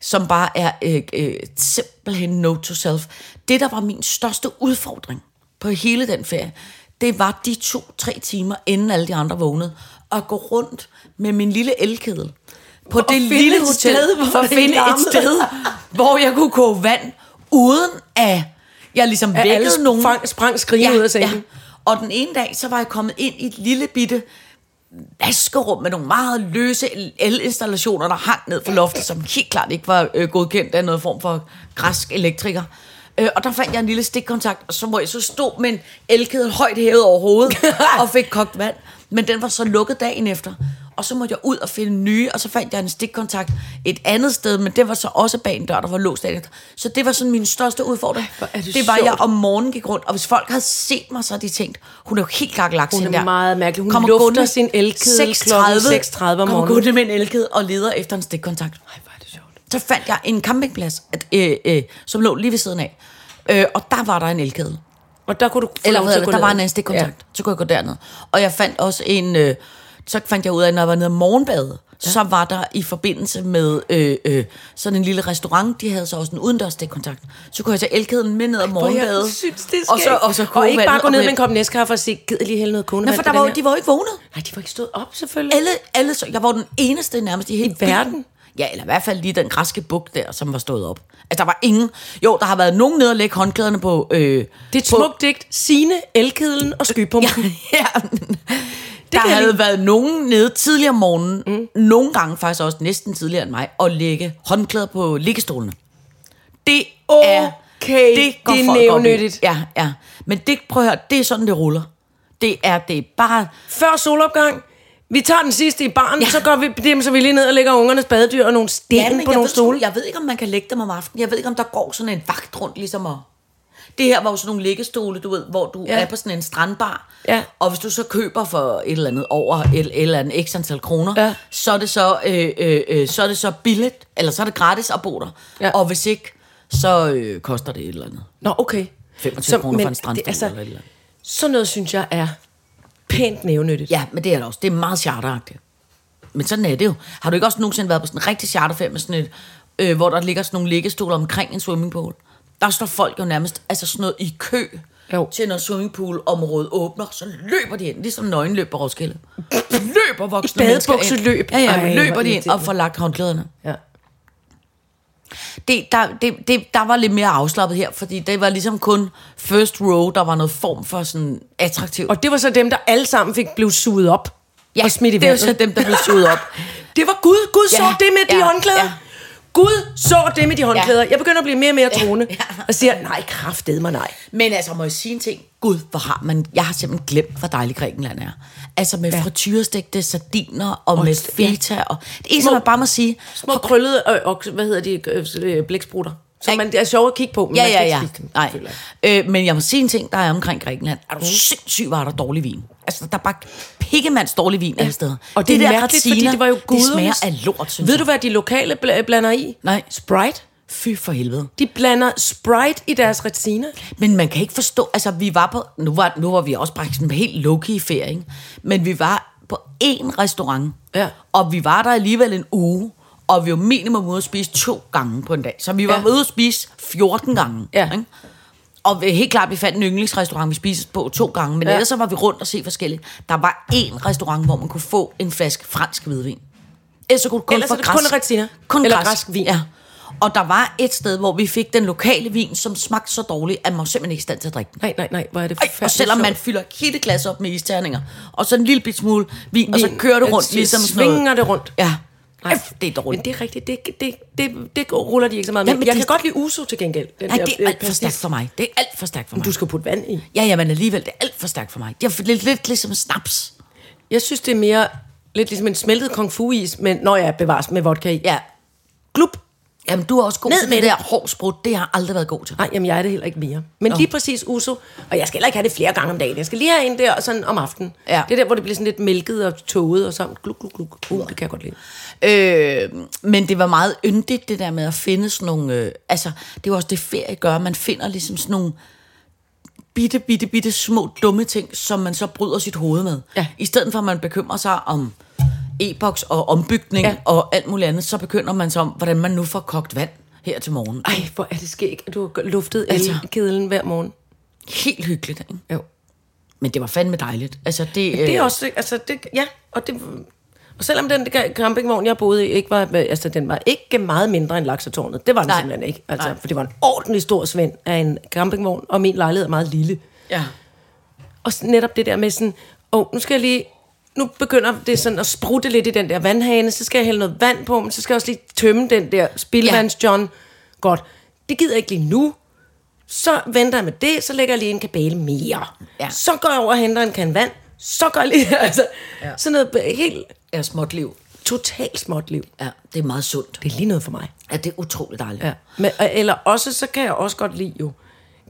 som bare er øh, øh, simpelthen no to self. Det, der var min største udfordring på hele den ferie, det var de to-tre timer, inden alle de andre vågnede, at gå rundt med min lille elkedel på det
finde
lille
et
hotel,
sted, hvor
for at
det
finde et
larmede.
sted, hvor jeg kunne koge vand, uden at jeg ligesom
At alle
vækkede nogen.
sprang- sprang skrigende ud af sengen.
Og den ene dag, så var jeg kommet ind i et lille bitte vaskerum med nogle meget løse el- elinstallationer, der hang ned fra loftet, som helt klart ikke var øh, godkendt af noget form for græsk elektriker. Øh, og der fandt jeg en lille stikkontakt, og så, må jeg, så stod med en elkedel højt hævet over hovedet og fik kogt vand. Men den var så lukket dagen efter. Og så måtte jeg ud og finde nye, og så fandt jeg en stikkontakt et andet sted, men det var så også bag en dør, der var låst dagen efter. Så det var sådan min største udfordring.
hvor er det
det var,
sjovt.
jeg om morgenen gik rundt, og hvis folk havde set mig, så havde de tænkt, hun er jo helt kakelaks
Hun er
hende der.
meget mærkelig. Hun lufter sin elkedel klokken 6.30 om
Kommer
morgenen.
gående med en elkedel og leder efter en stikkontakt.
Ej, hvor er det sjovt.
Så fandt jeg en campingplads, at, øh, øh, som lå lige ved siden af. Øh, og der var der en elkedel.
Og der kunne du få
Eller
lov
hvad
til
hedder
at gå
det, der var
ned.
en stikkontakt. Ja. Så kunne jeg gå derned. Og jeg fandt også en... Øh, så fandt jeg ud af, at når jeg var nede om morgenbadet, ja. så var der i forbindelse med øh, øh, sådan en lille restaurant, de havde så også en udendørs stikkontakt. Så kunne jeg tage elkeden med ned om
Hvor jeg
morgenbadet.
synes, det er
og så,
skægt.
og så
og ikke bare
kogevandet
gå ned med
med-
en kop næstkaffe og sige, gider lige hælde noget kone
Nå, for der var, jo- de var jo ikke vågnet.
Nej, de var ikke stået op, selvfølgelig.
Alle, alle, så, jeg var den eneste nærmest i hele
I verden?
byen. Ja, eller i hvert fald lige den græske buk der, som var stået op. Altså, der var ingen... Jo, der har været nogen nede og lægge håndklæderne på... Øh,
Det er et smukt digt. Sine, elkedlen og skypumpen. Ja.
ja. Der
kan jeg
havde
lide.
været nogen nede tidligere om morgenen, mm. nogle gange faktisk også næsten tidligere end mig, og lægge håndklæder på liggestolene. Det er...
Okay, det er
folk op i.
nævnyttigt.
Ja, ja. Men det, prøv at høre, det er sådan, det ruller. Det er det er bare...
Før solopgang, vi tager den sidste i barn, ja.
Ja.
så går vi, dem, så vi lige ned og lægger ungernes badedyr og nogle
men
sten på
jeg
nogle
ved, sgu-
stole.
Jeg ved ikke, om man kan lægge dem om aftenen. Jeg ved ikke, om der går sådan en vagt rundt, ligesom at... Det her var jo sådan nogle liggestole, du ved, hvor du
Ja.
ja. er på sådan en strandbar.
Ja.
Og hvis du så køber for et eller andet over et, et eller andet x antal kroner,
Ja.
så, er det så, øh, øh, øh, så er det så billigt, eller så er det gratis at bo der.
Ja.
Og hvis ikke, så øh, koster det et eller andet.
Nå, okay.
25
Så-
kroner
men
for en strandstol
det- altså,
eller et eller andet.
Sådan noget, synes jeg, er pænt nævnyttigt.
Ja, men det er det også. Det er meget charteragtigt. Men sådan er det jo. Har du ikke også nogensinde været på sådan en rigtig charterferie med sådan et, øh, hvor der ligger sådan nogle liggestoler omkring en swimmingpool? Der står folk jo nærmest altså sådan noget i kø
Jo.
jo. til når swimmingpool-området åbner, så løber de ind, ligesom nøgenløb på Roskilde. Så løber voksne
I
mennesker ind.
badebukseløb.
Ja, ja,
Ej,
Ej,
hvor
løber de ind
irriterende.
og får lagt håndklæderne.
ja.
Det, der, det, det, der var lidt mere afslappet her, fordi det var ligesom kun first row, der var noget form for sådan attraktivt.
Og det var så dem, der alle sammen fik blev suget op ja, og smidt i
det er jo
vandet.
så dem, der blev suget op.
Det var Gud. Gud så
Ja,
det med de
ja,
håndklæder.
ja.
Gud så det med de håndklæder.
Ja.
Jeg begynder at blive mere og mere troende.
ja.
Og siger, nej, kraftede mig nej.
Men altså, må jeg sige en ting? Gud, hvor har man... Jeg har simpelthen glemt, hvor dejlig Grækenland er. Altså med ja. frityrestegte sardiner og, og med feta. Og, det eneste,
Små-
man bare må sige...
Små krøllede, og, og hvad hedder de, øh, øh, blæksprutter. Som
Ikke?
man, det er sjovt at kigge på, men
Ja,
man skal
ja,
ikke
ja.
spise dem.
Nej.
føler jeg.
Øh, men jeg må sige en ting, der er omkring Grækenland. Er du sindssygt, var der dårlig vin? Altså, der er bare pikkemands dårlig vin alle steder.
Og det, det er mærkeligt, fordi
Retsina,
det var jo
Det
gudernes-
smager af lort, synes
Ved
jeg.
du, hvad de lokale bl- blander i?
Nej.
Sprite.
Fy for helvede.
De blander Sprite i deres retsiner.
Men man kan ikke forstå, altså vi var på, nu var, nu var vi også bare sådan helt lucky i ferie, ikke? men vi var på én restaurant,
Ja.
og vi var der alligevel en uge, og vi var minimum ude at spise to gange på en dag. Så vi var
Ja.
ja. ude at spise 14 gange.
Ja.
Ikke? Og vi- helt klart, vi fandt en yndlingsrestaurant, vi spiste på to gange, men
Ja.
ja. ellers så var vi rundt og se forskellige. Der var én restaurant, hvor man kunne få en flaske fransk hvidvin. Ellers så kunne du kun
Ellers
få
er det
græsk.
kun Retsina.
Kun
Eller
græsk.
græsk vin.
Ja. Og der var et sted, hvor vi fik den lokale vin, som smagte så dårligt, at man var simpelthen ikke i stand til at drikke den.
Nej, nej, nej, hvor er det
Ej, og selvom man fylder et hele glas op med isterninger, og så en lille bit smule vin, og så kører det rundt ligesom sådan noget.
Svinger det rundt.
Ja.
Nej.
Nej, det er dårligt.
Men det er rigtigt, det, det, det, det ruller de ikke så meget med.
Jamen,
jeg
det-
kan godt lide uso til gengæld. Den
Nej,
der,
det
øh,
er alt for
persille.
stærkt for mig. Det er alt for stærkt for mig.
Du skal putte vand i.
Ja, ja, men alligevel, det er alt for stærkt for mig. Det er lidt, lidt ligesom snaps.
Jeg synes, det er mere lidt ligesom en smeltet kung fu is, men når jeg bevares med vodka i.
Ja.
Glup.
Jamen, du er også god
Ned
til
med
det
det.
der hård sprut. Det har jeg aldrig været god til.
Nej, jamen jeg er det heller ikke mere. Men lige præcis uso, og jeg skal heller ikke have det flere gange om dagen. Jeg skal lige have en der og sådan om aftenen.
Ja.
Det er der, hvor det bliver sådan lidt mælket og tåget og sådan. Gluk, gluk, gluk. Uh, det kan jeg godt lide.
Øh, men det var meget yndigt, det der med at finde sådan nogle... Øh, altså, det er jo også det, ferie gør. Man finder ligesom sådan nogle bitte, bitte, bitte små dumme ting, som man så bryder sit hoved med.
Ja.
I stedet for, at man bekymrer sig om e-boks og ombygning ja.
Ja.
og alt muligt andet, så begynder man så om, hvordan man nu får kogt vand her til morgen.
Ej, hvor er det skægt, at du har luftet
Altså.
altså. kedlen hver morgen.
Helt hyggeligt, ikke?
Jo.
Men det var fandme dejligt. Altså, det,
Det er
øh,
også, altså det, ja, og det, og selvom den der campingvogn, jeg boede i, ikke var, altså den var ikke meget mindre end laksetårnet, det var den
Nej.
Nej. simpelthen ikke, altså,
Nej.
for det var en ordentlig stor svend af en campingvogn, og min lejlighed er meget lille.
Ja.
Og s- netop det der med sådan, åh, nu skal jeg lige, nu begynder det sådan at sprutte lidt i den der vandhane, så skal jeg hælde noget vand på, men så skal jeg også lige tømme den der spildvandsjohn. Ja. Godt, det gider jeg ikke lige nu. Så venter jeg med det, så lægger jeg lige en kabale mere.
Ja.
Så går jeg over og henter en kan vand, så går jeg lige, altså, ja. sådan noget b- helt
Er småt liv.
totalt småt liv.
Ja, det er meget sundt.
Det er lige noget for mig.
Ja, det er utroligt dejligt.
Ja. Men, og- eller også, så kan jeg også godt lide jo,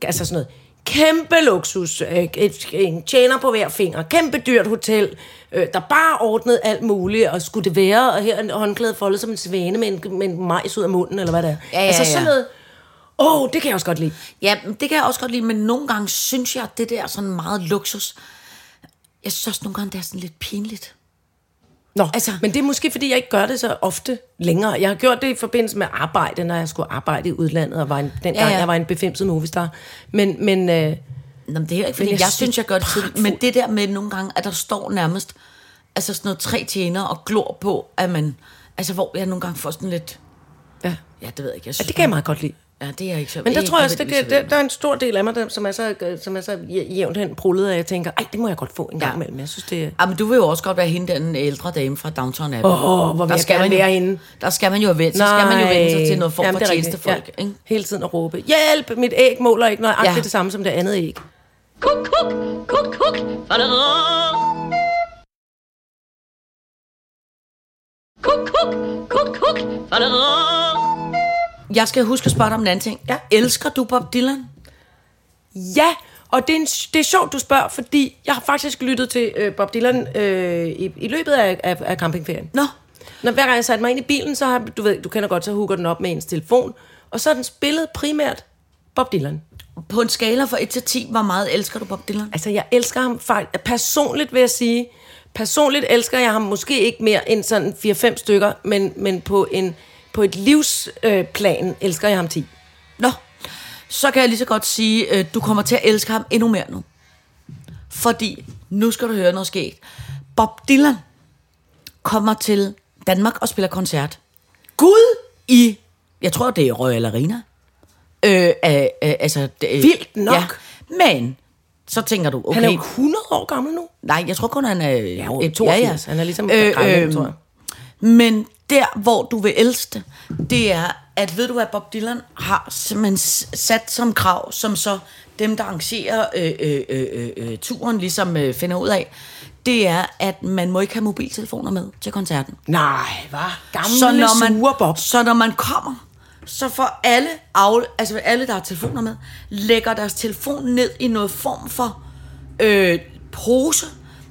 altså sådan noget, kæmpe luksus, øh, et, en tjener på hver finger, kæmpe dyrt hotel, øh, der bare ordnede alt muligt, og skulle det være, og her en håndklæde foldet som en svane med en, med en majs ud af munden, eller hvad det er.
Ja, ja,
altså
ja.
sådan noget, åh, oh, det kan jeg også godt lide.
Ja, men det kan jeg også godt lide, men nogle gange synes jeg, at det der er sådan meget luksus. Jeg synes også nogle gange, det er sådan lidt pinligt.
Nå,
Altså-
altså, men det er måske, fordi jeg ikke gør det så ofte længere. Jeg har gjort det i forbindelse med arbejde, når jeg skulle arbejde i udlandet, og var en, dengang
Ja,
ja,
ja.
ja. jeg var en befimset movistar. Men, men øh,
Nå, men det er heller ikke, fordi
Men
jeg,
jeg
jeg
synes,
synes,
det er
jeg gør det tidligt. Men det der med nogle gange, at der står nærmest altså sådan noget tre tjener og glor på, at man... Altså, hvor jeg nogle gange får sådan lidt...
ja,
Ja, det ved jeg ikke. Jeg
ja,
synes,
det kan jeg meget godt lide.
Ja, det er jeg ikke så...
Men der
ikke
tror jeg også, det, kan-
nødvendigvis så
der, der er en stor del af mig, der, som er så, øh, som er så jæ- jævnt hen prullet, og jeg tænker, ej, det må jeg godt få en gang
Ja.
imellem. Jeg synes, det er...
Ja, Ah, men du vil jo også godt være hende, der, den ældre dame fra Downton Abbey.
Åh, hvor vil jeg gerne
man jo,
være hende.
Der skal man jo vende, så skal man jo vende sig til noget form
Jamen,
for
det er rigtigt.
tjenestefolk. Ja. Ikke?
Hele tiden at råbe, hjælp, mit æg måler ikke nøjagtigt
Ja.
ja. det samme som det andet æg.
Kuk, kuk, kuk, kuk. Fadadadam. Kuk, kuk, kuk, kuk. Fadadadam.
Jeg skal huske at spørge dig om en anden ting.
Ja.
Elsker du Bob Dylan?
Ja, og det er, en, det er sjovt, du spørger, fordi jeg har faktisk lyttet til øh, Bob Dylan øh, i, i løbet af, af, af campingferien.
Nå.
Når hver gang jeg satte mig ind i bilen, så har, du ved, du kender godt, så hooker den op med ens telefon, og så er den spillet primært Bob Dylan.
På en skala fra 1 til 10, hvor meget elsker du Bob Dylan?
Altså, jeg elsker ham faktisk. Personligt vil jeg sige, personligt elsker jeg ham måske ikke mere end sådan 4-5 stykker, men, men på, en, på et livsplan øh, plan elsker jeg ham 10.
Nå. Så kan jeg lige så godt sige, at du kommer til at elske ham endnu mere nu. Fordi, nu skal du høre noget sket. Bob Dylan kommer til Danmark og spiller koncert. Gud! I, jeg tror det er Royal Arena. Øh, øh, øh, altså, det,
Vildt nok.
Ja. Men, så tænker du, okay.
Han er jo 100 år gammel nu. Øh,
Nej, jeg tror kun, han er... øh,
Ja, jo, 82. Han er ligesom gammel, tror jeg.
Men der, hvor du vil elske det, det er, at ved du hvad, Bob Dylan har simpelthen s- sat som krav, som så dem, der arrangerer øh, øh, øh, øh, øh, turen, ligesom øh, finder ud af, det er, at man må ikke have mobiltelefoner med til koncerten.
Nej, hvad? Gamle, så når man, sure Bob.
Så når man kommer, så får alle, af, altså alle, der har telefoner med, lægger deres telefon ned i noget form for øh, pose,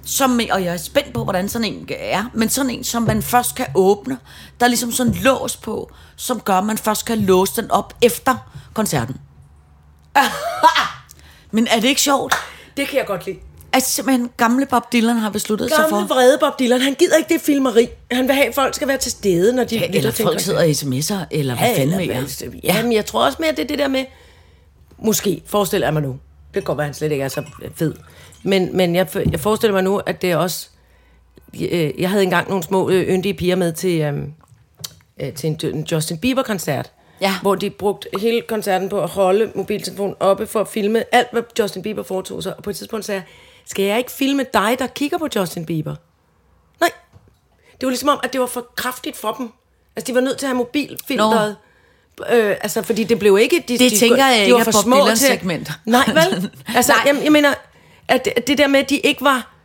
som, og jeg er spændt på, hvordan sådan en er, men sådan en, som man først kan åbne. Der er ligesom sådan en lås på, som gør, at man først kan låse den op efter koncerten. men er det ikke sjovt?
Det kan jeg godt lide.
At simpelthen gamle Bob Dylan har besluttet sig for...
Gamle vrede Bob Dylan, han gider ikke det filmeri. Han vil have, at folk skal være til stede, når de
Eller folk sidder og sms'er, eller hvad
Ja,
fanden
eller
ved jeg.
hvad? Ja, men jeg tror også mere, det er det der med, måske forestiller jeg mig nu, det kan godt være, han slet ikke er så fed, men, men jeg, jeg forestiller mig nu, at det er også, øh, jeg havde engang nogle små øh, yndige piger med til, øhm, øh, til en, en Justin Bieber-koncert,
Ja.
hvor de brugte hele koncerten på at holde mobiltelefonen oppe for at filme alt, hvad Justin Bieber foretog sig, og på et tidspunkt sagde jeg, skal jeg ikke filme dig, der kigger på Justin Bieber? Nej. Det var ligesom om, at det var for kraftigt for dem. Altså, de var nødt til at have mobilfilteret. Øh, altså, fordi det blev ikke... De,
Det
de,
tænker jeg
de
ikke
var
er
for
Bob
små
Dylans
til-
segment.
Nej, vel? Altså,
Nej.
Nej. Jeg, jeg mener, at at det der med, at de ikke var...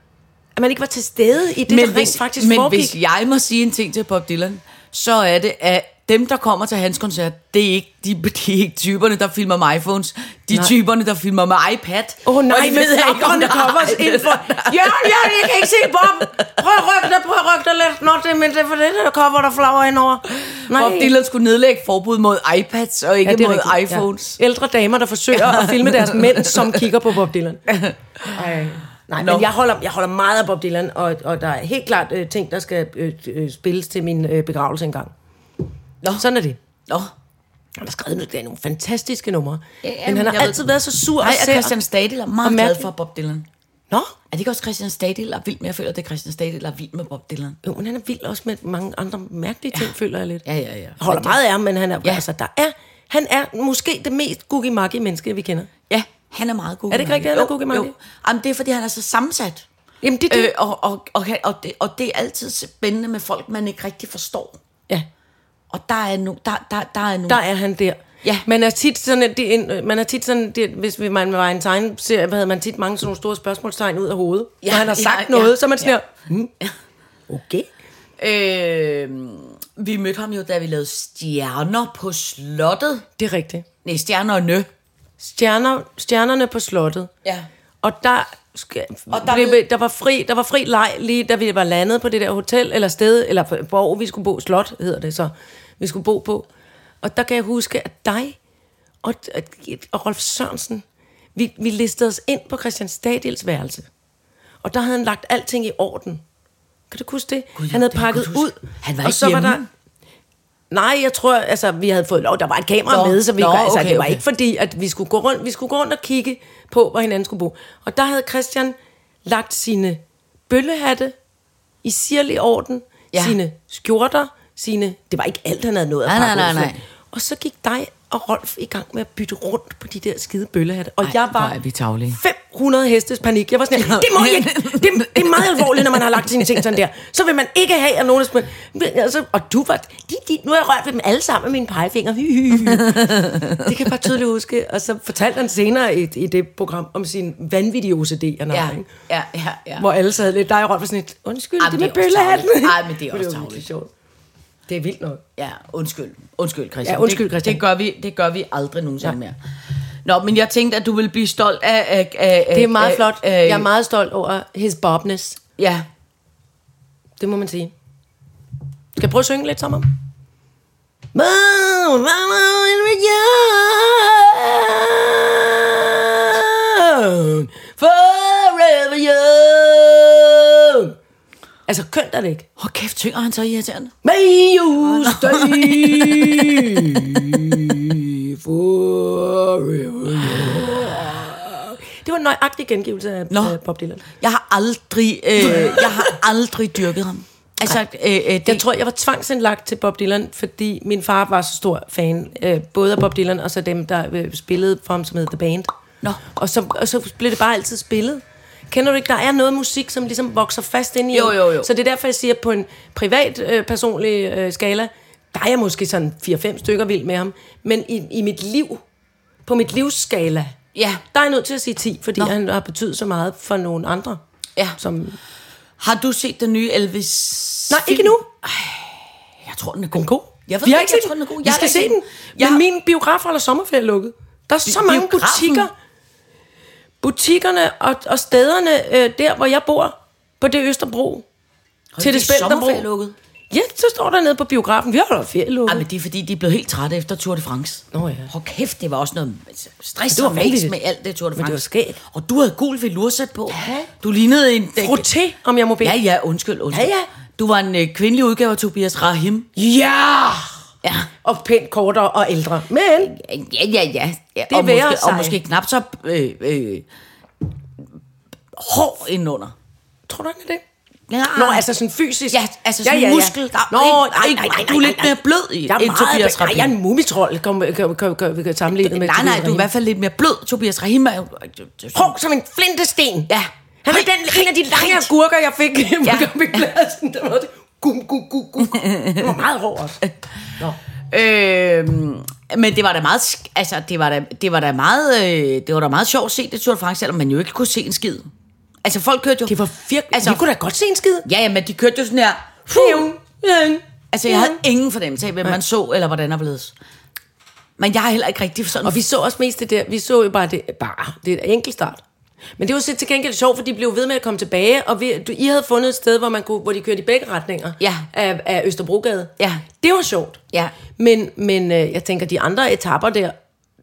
At man ikke var til stede i det, der rent faktisk
men
foregik.
hvis jeg må sige en ting til Bob Dylan, så er det, at dem, der kommer til hans koncert, det er ikke, de, de er ikke typerne, der filmer med iPhones. De er
Nej.
typerne, der filmer med iPad.
Åh oh, nej,
Og det ved jeg ikke, om
der
der
kommer os ind for... Jørgen, Jørgen, jeg kan ikke se Bob. Prøv at rykke dig, prøv at rykke dig lidt. Nå, det er, men det er for det, der cover, der flager henover. Nej.
Bob Dylan skulle nedlægge forbud mod iPads og ikke ja,
det er
mod
rigtigt,
iPhones.
Ja. Ældre damer, der forsøger at filme deres mænd, som kigger på Bob Dylan. Ej. Nej,
Nå.
no. men jeg holder, jeg holder meget af Bob Dylan, og, og der er helt klart øh, ting, der skal øh, øh, spilles til min øh, begravelse engang.
Nå.
Sådan er det.
Nå.
Han har skrevet nogle, det er nogle fantastiske numre. Ja,
ja,
men han har
jeg ved
altid
det.
været så sur
Nej,
og
og
sær.
Christian Stadil er meget
og
glad
mærkelig.
for Bob Dylan.
Nå,
Er det ikke også Christian Stadil, der er vild med? Jeg føler, det er Christian Stadil, der er vild med Bob Dylan.
jo, men han er vild også med mange andre mærkelige ting, ja. føler jeg lidt.
Ja, ja, ja.
Jeg holder meget af ham, men han er,
Ja.
ja. altså, der er, han er måske det mest googie menneske, vi kender.
Ja, han er meget god.
Er det ikke rigtigt, han er Googie Monday?
Jamen, det er, fordi han er så sammensat.
Jamen, det er det.
Øh, og, og, og, han- og, det, og det er altid spændende med folk, man ikke rigtig forstår.
Ja,
Og der er nu, der, der, der er nu.
der er han der.
Ja.
Man er tit sådan, at det, er en, man er tit sådan det, hvis vi- man var en tegneserie, havde man tit mange sådan nogle store spørgsmålstegn ud af hovedet.
Ja,
Ja, Når han har
ja,
sagt
ja,
ja, noget, så er man
ja.
sådan ja. hmm. Okay.
Øh, vi mødte ham jo, da vi lavede Stjerner på Slottet.
Det er rigtigt.
Nej, Stjerner og Nø.
Stjerner, stjernerne på slottet.
Ja.
Og der, skal, og
der
der,
ved-
blev, der, var fri, der var fri leg lige da vi var landet på det der hotel, eller sted, eller på- borg, vi skulle bo, slot hedder det så, vi skulle bo på. Og der kan jeg huske, at dig og, og Rolf Sørensen, vi, vi listede os ind på Christian Stadils værelse. Og der havde han lagt alting i orden. Kan du huske det?
Gud, ja,
han havde
det kan jeg
pakket
godt
ud.
huske. Han var
og
ikke
så var der,
hjemme.
Nej, jeg tror, altså, vi havde fået lov. Der var et kamera
Nå,
med, så vi,
nå,
nå, altså,
okay,
det var
okay.
ikke fordi, at vi skulle, gå rundt, vi skulle gå rundt og kigge på, hvor hinanden skulle bo. Og der havde Christian lagt sine bøllehatte i sirlig orden,
Ja.
ja. sine skjorter, sine... Det var ikke alt, han havde nået at
Nej, nej,
pakke
nej,
ud for.
nej.
Og så gik dig og Rolf i gang med at bytte rundt på de der skide bøllehatte. Og
Ej,
Ej, jeg
hvor
var
er vi tarvelige.
500 hestes panik. Jeg var sådan, her, det må jeg ikke. Det, det er meget alvorligt, når man har lagt sine ting sådan der. Så vil man ikke have, at nogen er spurgt. Men Altså, og du var... De, de, nu har jeg rørt ved dem alle sammen med mine pegefinger. Hy, hy, hy. Det kan jeg bare tydeligt huske. Og så fortalte han senere i, i det program om sin vanvittige OCD. Han
Ja,
har, ikke?
ja, ja, ja.
Hvor alle sad lidt dig og Rolf var sådan lidt, undskyld,
Ej,
det
men
med
det er også
bøllehatten.
tarveligt. Ej, men det er også
jo virkelig
tarveligt.
sjovt. Det er vildt nok.
Ja, undskyld. Undskyld, Christian.
Ja, undskyld, Christian.
Det, det, gør, vi, det gør vi aldrig nogensinde ja. mere. Nå, men jeg tænkte, at du ville blive stolt af... af, af af-
Det er meget
af,
flot.
af-
Jeg er meget stolt over his bobness.
Ja.
Det må man sige. Skal jeg prøve at synge lidt sammen? Forever young. Altså, kønt er det ikke.
Hvor kæft, tynger han så irriterende?
May you stay forever young. Det var en nøjagtig gengivelse af
Nå.
af Øh, Bob Dylan.
Jeg har aldrig, øh, jeg har aldrig dyrket ham. Altså, øh, øh, det,
Jeg tror, jeg var tvangsindlagt til Bob Dylan, fordi min far var så stor fan, øh, både af Bob Dylan og så dem, der øh, spillede for ham, som hed The Band.
Nå.
Og, så, og så blev det bare altid spillet. Kender du ikke, der er noget musik, som ligesom vokser fast ind i
Jo,
en.
jo, jo.
Så det er derfor, jeg siger, at på en privat, øh, personlig øh, skala, der er jeg måske sådan 4-5 stykker vild med ham. Men i, i mit liv, på mit livsskala,
Ja.
der er jeg nødt til at sige 10, fordi
Nå.
Nå. han har betydet så meget for nogle andre.
Ja.
Som,
Har du set den nye Elvis?
nej, ikke
film?
endnu.
Jeg tror, den er
Den
god.
er god.
Jeg ved
vi har
ikke,
ikke
jeg
set
tror, den er god.
Vi
Jeg har
skal
ikke
se
set
den.
den. Jeg-
Men min biograf holder sommerferie lukket. Der er så
Bi-
mange
biografen?
butikker. Butikkerne og, og stederne øh, der, hvor jeg bor, på det Østerbro. til det
sommerferie
Spændterbro.
lukket.
Ja, så står der nede på biografen. Vi holder ferie
Ej,
lukket.
men det er fordi, de er blevet helt trætte efter Tour de France.
Nå ja.
Hvor kæft, det var også noget altså, stress
Det var
og fæs
vanvittigt.
med alt det Tour de France.
Men det var skægt.
Og du havde gul velursæt på. Ja. Du lignede en...
Froté, om jeg må bede.
Ja, ja, undskyld, undskyld.
Ja, ja.
Du var en øh, kvindelig udgave af Tobias Rahim.
ja!
Ja.
Og pænt kortere og ældre. Men
Ja, ja, ja. ja.
Det
og,
være
måske, og
sig.
måske knap så øh, øh, hård indenunder.
tror du ikke det?
Ja.
Nå, altså sådan fysisk.
Ja, altså sådan muskel, der-
Nå,
ikke-
nej,
ikke-
nej, nej,
du er
nej,
lidt
nej.
mere blød i-
jeg er
end
meget
Tobias
blød. Nej,
Rahim.
jeg er en mumitrol, kom, kom, kom, kom, kom, sammenlignet med
Nej, nej,
Tobias
du er i
Rahim.
hvert fald lidt mere blød. Tobias Rahim er jo...
Hård som en flintesten.
Ja.
Han er
Højt,
den, en af de
højt,
lange
højt.
agurker, jeg fik
Ja.
ja. på campingpladsen. Der var det. Gum, gum, gum, gum. Den var meget hård også. Nå.
Øhm, men det var da meget, sk- altså det var da, det var da meget, øh, det var da meget sjovt at se det Tour de France, selvom man jo ikke kunne se en skid. Altså folk kørte jo...
Det var virkelig...
Altså-
Altså, vi kunne da godt se en skid.
Ja, ja, men de kørte jo sådan her...
Fjum. Fjum.
Altså jeg havde ingen fornemmelse af, hvem man så, eller hvordan der blev Men jeg er heller ikke rigtig sådan...
Og vi så også mest det der, vi så jo bare det, bare, det er enkelt start. Men det var så til gengæld sjovt, for de blev ved med at komme tilbage, og vi, du, I havde fundet et sted, hvor, man kunne, hvor de kørte i begge retninger
Ja.
af, af Østerbrogade.
Ja.
Det var sjovt.
Ja.
Men, men øh, jeg tænker, de andre etapper der,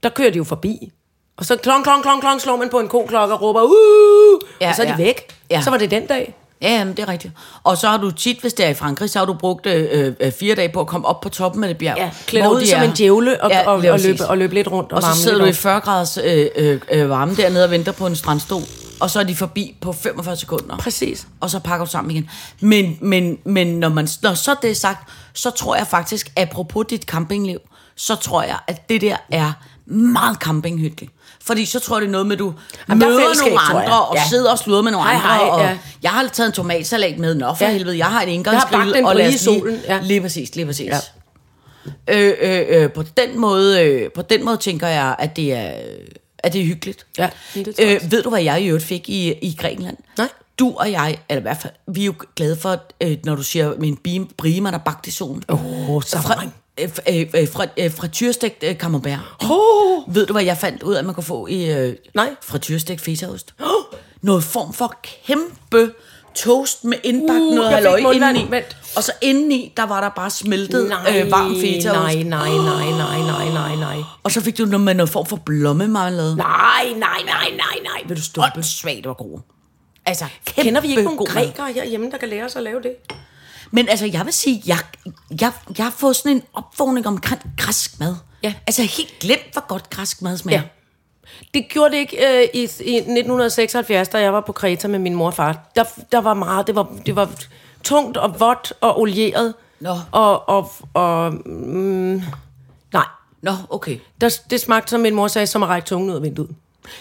der kører de jo forbi. Og så klong, klong, klong, klong, slår man på en koklokke og råber, uh, ja,
Ja,
og så er de
ja.
væk. Ja.
Ja.
Så var det den dag.
Ja, jamen, det er rigtigt. Og så har du tit, hvis det er i Frankrig, så har du brugt øh, øh, fire dage på at komme op på toppen af det bjerg.
Ja, klædt
hvor
ud
de
som
er.
en djævle og, ja, og,
lige
og,
præcis.
løbe, og løbe lidt rundt og,
Og så
varme
sidder du i
lidt op.
40 graders øh, øh, øh, varme dernede og venter på en strandstol, og så er de forbi på 45 sekunder.
Præcis.
Og så pakker du sammen igen. Men, men, men når, man, når så det er sagt, så tror jeg faktisk, apropos dit campingliv, så tror jeg, at det der er meget campinghyggeligt. Fordi så tror jeg, det er noget med, at du
Jamen,
Jamen,
der er
møder
fællesskab,
nogle
tror jeg.
andre, og
Ja.
ja. sidder og sluder med nogle
Hej,
andre.
hej,
og
ja.
Jeg har taget en tomatsalat med, nå for
Ja.
ja. helvede, jeg har en
Jeg har bagt
indgangsgrill,
en
og lad os
brie i
lige...
solen, ja.
Lige præcis, lige præcis.
Ja.
Ja. Øh, øh, øh, på den måde, øh, på den måde tænker jeg, at det er, at det er hyggeligt.
Ja, det tror jeg også.
øh, ved du, hvad jeg i øvrigt fik i, i Grækenland?
Nej.
Du og jeg, eller i hvert fald, vi er jo glade for, øh, når du siger, min bim, brimer, der bagt i solen.
Åh, oh, så
Fra, øh, f- øh, øh, fra, øh, fra tyrestegt øh, camembert.
oh,
Ved du, hvad jeg fandt ud af, at man kunne få i øh,
Nej.
fra tyrestegt fetaost? Noget form for kæmpe toast med indbagt
Uh,
uh, noget
jeg fik
halløj
mundvand.
indeni.
Vent.
Og så indeni, der var der bare smeltet
nej,
øh, varm fetaost.
nej, nej, nej, nej, nej, nej, nej.
Og så fik du noget med noget form for blommemarmelade.
Nej, nej, nej, nej, nej. Vil du stoppe?
Åndssvagt, det var god. Altså, kæmpe
Kender vi ikke nogen
god mad.
grækere herhjemme, der kan lære os at lave det?
Men altså, jeg vil sige, jeg, jeg, jeg har fået sådan en opvågning omkring græsk mad.
Ja.
Altså, helt glemt, hvor godt græsk mad smager.
Ja. Det gjorde det ikke øh, i, i 1976, da jeg var på Kreta med min mor og far. Der, der var meget, det var, det var tungt og vådt og olieret.
Nå.
Og, og, og mm, nej,
Nå, okay.
der, det smagte, som min mor sagde, som at række tungen ud af vinduet.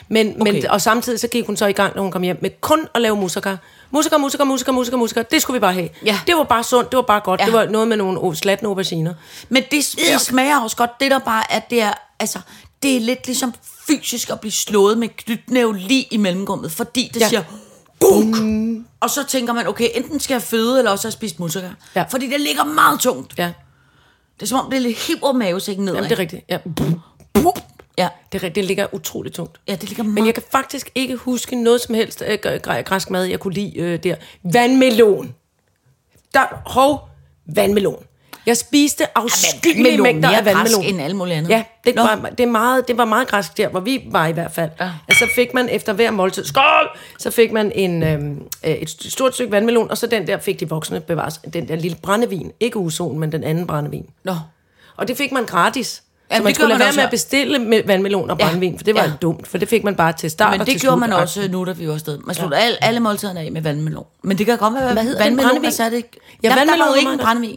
Men, okay. men,
Okay.
og samtidig så gik hun så i gang, når hun kom hjem, med kun at lave musikker. Musikker, musikker, musikker, musikker, musikker. Det skulle vi bare have.
Ja.
Det var bare sundt, det var bare godt. Ja.
Ja.
Det var noget med nogle o- slatne auberginer.
Men det, det smager også godt. Det der bare er, det er, altså, det er lidt ligesom fysisk at blive slået med knytnæve lige i mellemrummet, fordi det
Ja.
ja. siger, Buk! Og så tænker man, okay, enten skal jeg føde, eller også har jeg spist musikker.
Ja.
Fordi det ligger meget tungt.
Ja,
Det er som om, det lidt hiver mavesækken ned.
Jamen, det er rigtigt. Ja.
Ja.
Det, er rigtigt. det ligger utroligt tungt.
ja, det ligger
Men
meget
jeg kan faktisk ikke huske noget som helst øh, gr- gr- græsk mad, jeg kunne lide øh, der. Vandmelon. Der, hov, vandmelon. Jeg spiste afskyelige ja,
vandmelon,
mængder
mere
af vandmelon.
græsk end alt muligt andet.
Ja, det
Nå.
var, det, er meget, det var meget græsk der, hvor vi var i hvert fald. Ja.
Ja.
Altså, så fik man efter hver måltid, skål, så fik man en, øhm, øh, et st- stort stykke vandmelon, og så den der fik de voksne bevares, den der lille brændevin. Ikke uson, men den anden brændevin.
Nå.
Og det fik man
Ja,
gratis. Ja, så
men
man
det
skulle
gjorde
lade
man
være
også
med
her.
at bestille med vandmelon og
Ja,
brændevin, for det var
ja.
jo dumt, for det fik man bare til start
Men
og
det
til
gjorde
slut.
man også øh, nu, da vi var afsted. Man slutter alle, alle måltiderne af med vandmelon. Men det kan godt være, hvad hedder vandmelon,
Brændevin?
den sat ikke. Ja,
Ja,
der, der
vandmelon
var jo
var
ikke en
der.
brændevin.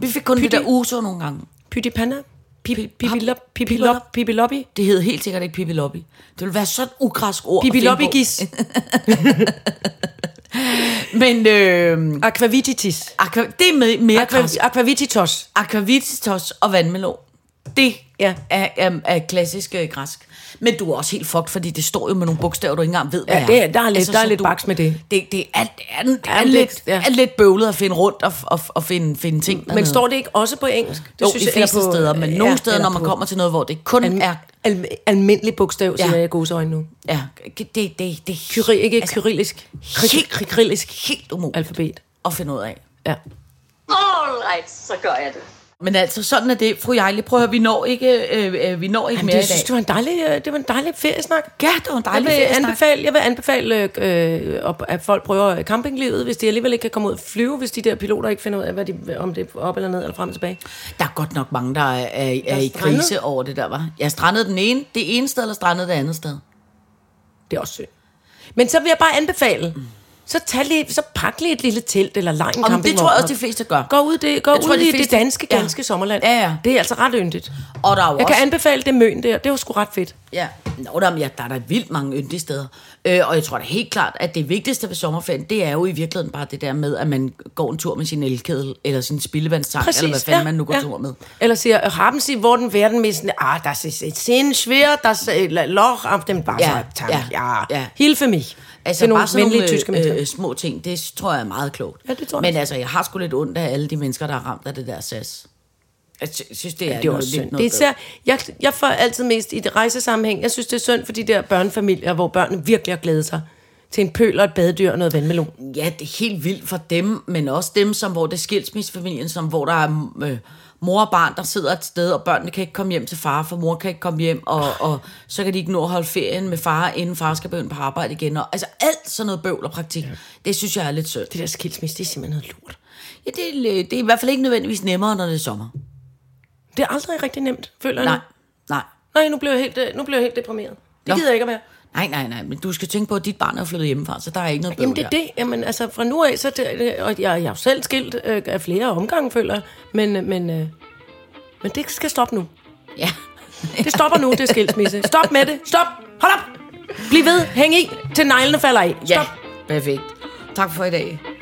Vi fik kun det
Pytte.
der uso nogle gange.
Pytipanna?
Pap-
Pipilop? Pipiloppi?
Det hed helt sikkert ikke Pippi Lobby. Det ville være sådan et ugræsk ord. at finde på.
Pipiloppigis.
Men øh,
Aquavititis.
aqua, det er med, mere græsk.
Aqua- Aquavititos.
Aquavitas og vandmelon. Det
Ja.
ja. er, er, er klassisk øh, græsk. Men du er også helt fucked, fordi det står jo med nogle bogstaver, du ikke engang ved, hvad Altså,
Ja, det er- der er lidt- der er
så
lidt
du-
baks med det.
Det, det er, det er, det er,
en
lidt,
bæks, ja.
er lidt bøvlet at finde rundt og, og, og finde, finde ting.
Men
dernede.
står det ikke også på engelsk? Det
jo, synes de fleste
eller på-
steder, men
ja,
nogle steder,
eller
når man
på
kommer til noget, hvor det kun er...
Al- al- almindelig bogstav, siger
Ja.
jeg i godsøjne nu.
Ja, det, det, det, det er
Kyri, ikke kyrillisk.
helt-
Kry- Kyrillisk
helt umuligt
alfabet.
at finde ud af.
Ja.
All right, så gør jeg det.
Men altså, sådan er det. Fru Jejle, prøv at høre, vi når ikke, øh, øh, vi når ikke
Men
mere
det,
i dag.
synes, det, var en dejlig, øh, det var en dejlig feriesnak.
Ja, det var en
Jeg
dejlig
vil,
feriesnak.
anbefale, jeg vil anbefale, øh, op- at folk prøver campinglivet, hvis de alligevel ikke kan komme ud og flyve, hvis de der piloter ikke finder ud af, hvad de, om det er op eller ned eller frem og tilbage.
Der er godt nok mange, der er, er, er i
strandet.
krise over det der, var. Jeg strandede den ene, det ene sted, eller strandede det andet sted.
Det er også synd. Men så vil jeg bare anbefale, så, tag lige, så pak lige et lille telt eller lej en
Og det tror jeg også,
det
de fleste gør.
Gå ud, det, gå
Jeg
ud
tror,
tror,
de
i det
fleste-
danske,
Ja.
ganske sommerland.
Ja, ja.
Det er altså ret yndigt.
Og der er jo
Jeg
også...
kan anbefale det møn der. Det var sgu ret fedt.
Ja. Nå, der, ja, der er der vildt mange yndige steder. Øh, og jeg tror da helt klart, at det vigtigste ved sommerferien, det er jo i virkeligheden bare det der med, at man går en tur med sin elkedel, eller sin spildevandstank, eller hvad fanden man nu går tur med.
Eller siger, haben Sie, hvor den werden müssen? Ah, das ist et sind schwer, das äh, Loch auf dem Wassertank. Ja,
Ja,
"Ah, ja, ja.
ja.
Hilfe mich.
Altså
det er nogle
bare sådan
venlige
nogle
tyske
tyske
mennesker.
øh, øh, små ting, det tror jeg er meget klogt.
Ja, det tror jeg
Men
også.
altså, jeg har sgu lidt ondt af alle de mennesker, der er ramt af det der SAS. Jeg sy- synes, det er,
det er
noget-
også
lidt
synd. Det er
noget
især, jeg, jeg får altid mest i det rejsesammenhæng. Jeg synes, det er synd for de der børnefamilier, hvor børnene virkelig har glædet sig til en pøl og et badedyr og noget vandmelon.
ja, det er helt vildt for dem, men også dem, som hvor det er skilsmissefamilien, som hvor der er øh, mor og barn, der sidder et sted, og børnene kan ikke komme hjem til far, for mor kan ikke komme hjem, og, og så kan de ikke nå at holde ferien med far, inden far skal begynde på arbejde igen. Og, altså alt sådan noget bøvl og praktik, ja. det synes jeg er lidt sødt.
Det der skilsmisse, det er simpelthen noget lort.
Ja, det, er, øh, det er i hvert fald ikke nødvendigvis nemmere, når det er sommer.
Det er aldrig rigtig nemt, føler jeg.
Nej,
nu.
nej.
Nej, nu blev jeg helt, øh, nu blev jeg helt deprimeret. Det
Nå.
gider jeg ikke at være.
Nej, nej, nej, men du skal tænke på, at dit barn er flyttet hjemmefra, så der er ikke noget bøvl
Jamen det
der.
er det, jamen altså fra nu af, så det, det- og jeg, jeg er jo selv skilt øh, af flere omgange, føler jeg, men, øh, men, øh, men det skal stoppe nu.
Ja.
Det stopper nu, det er skilsmisse. Stop med det, stop, hold op, bliv ved, hæng i, til neglene falder af. Stop.
ja, perfekt. Tak for i dag.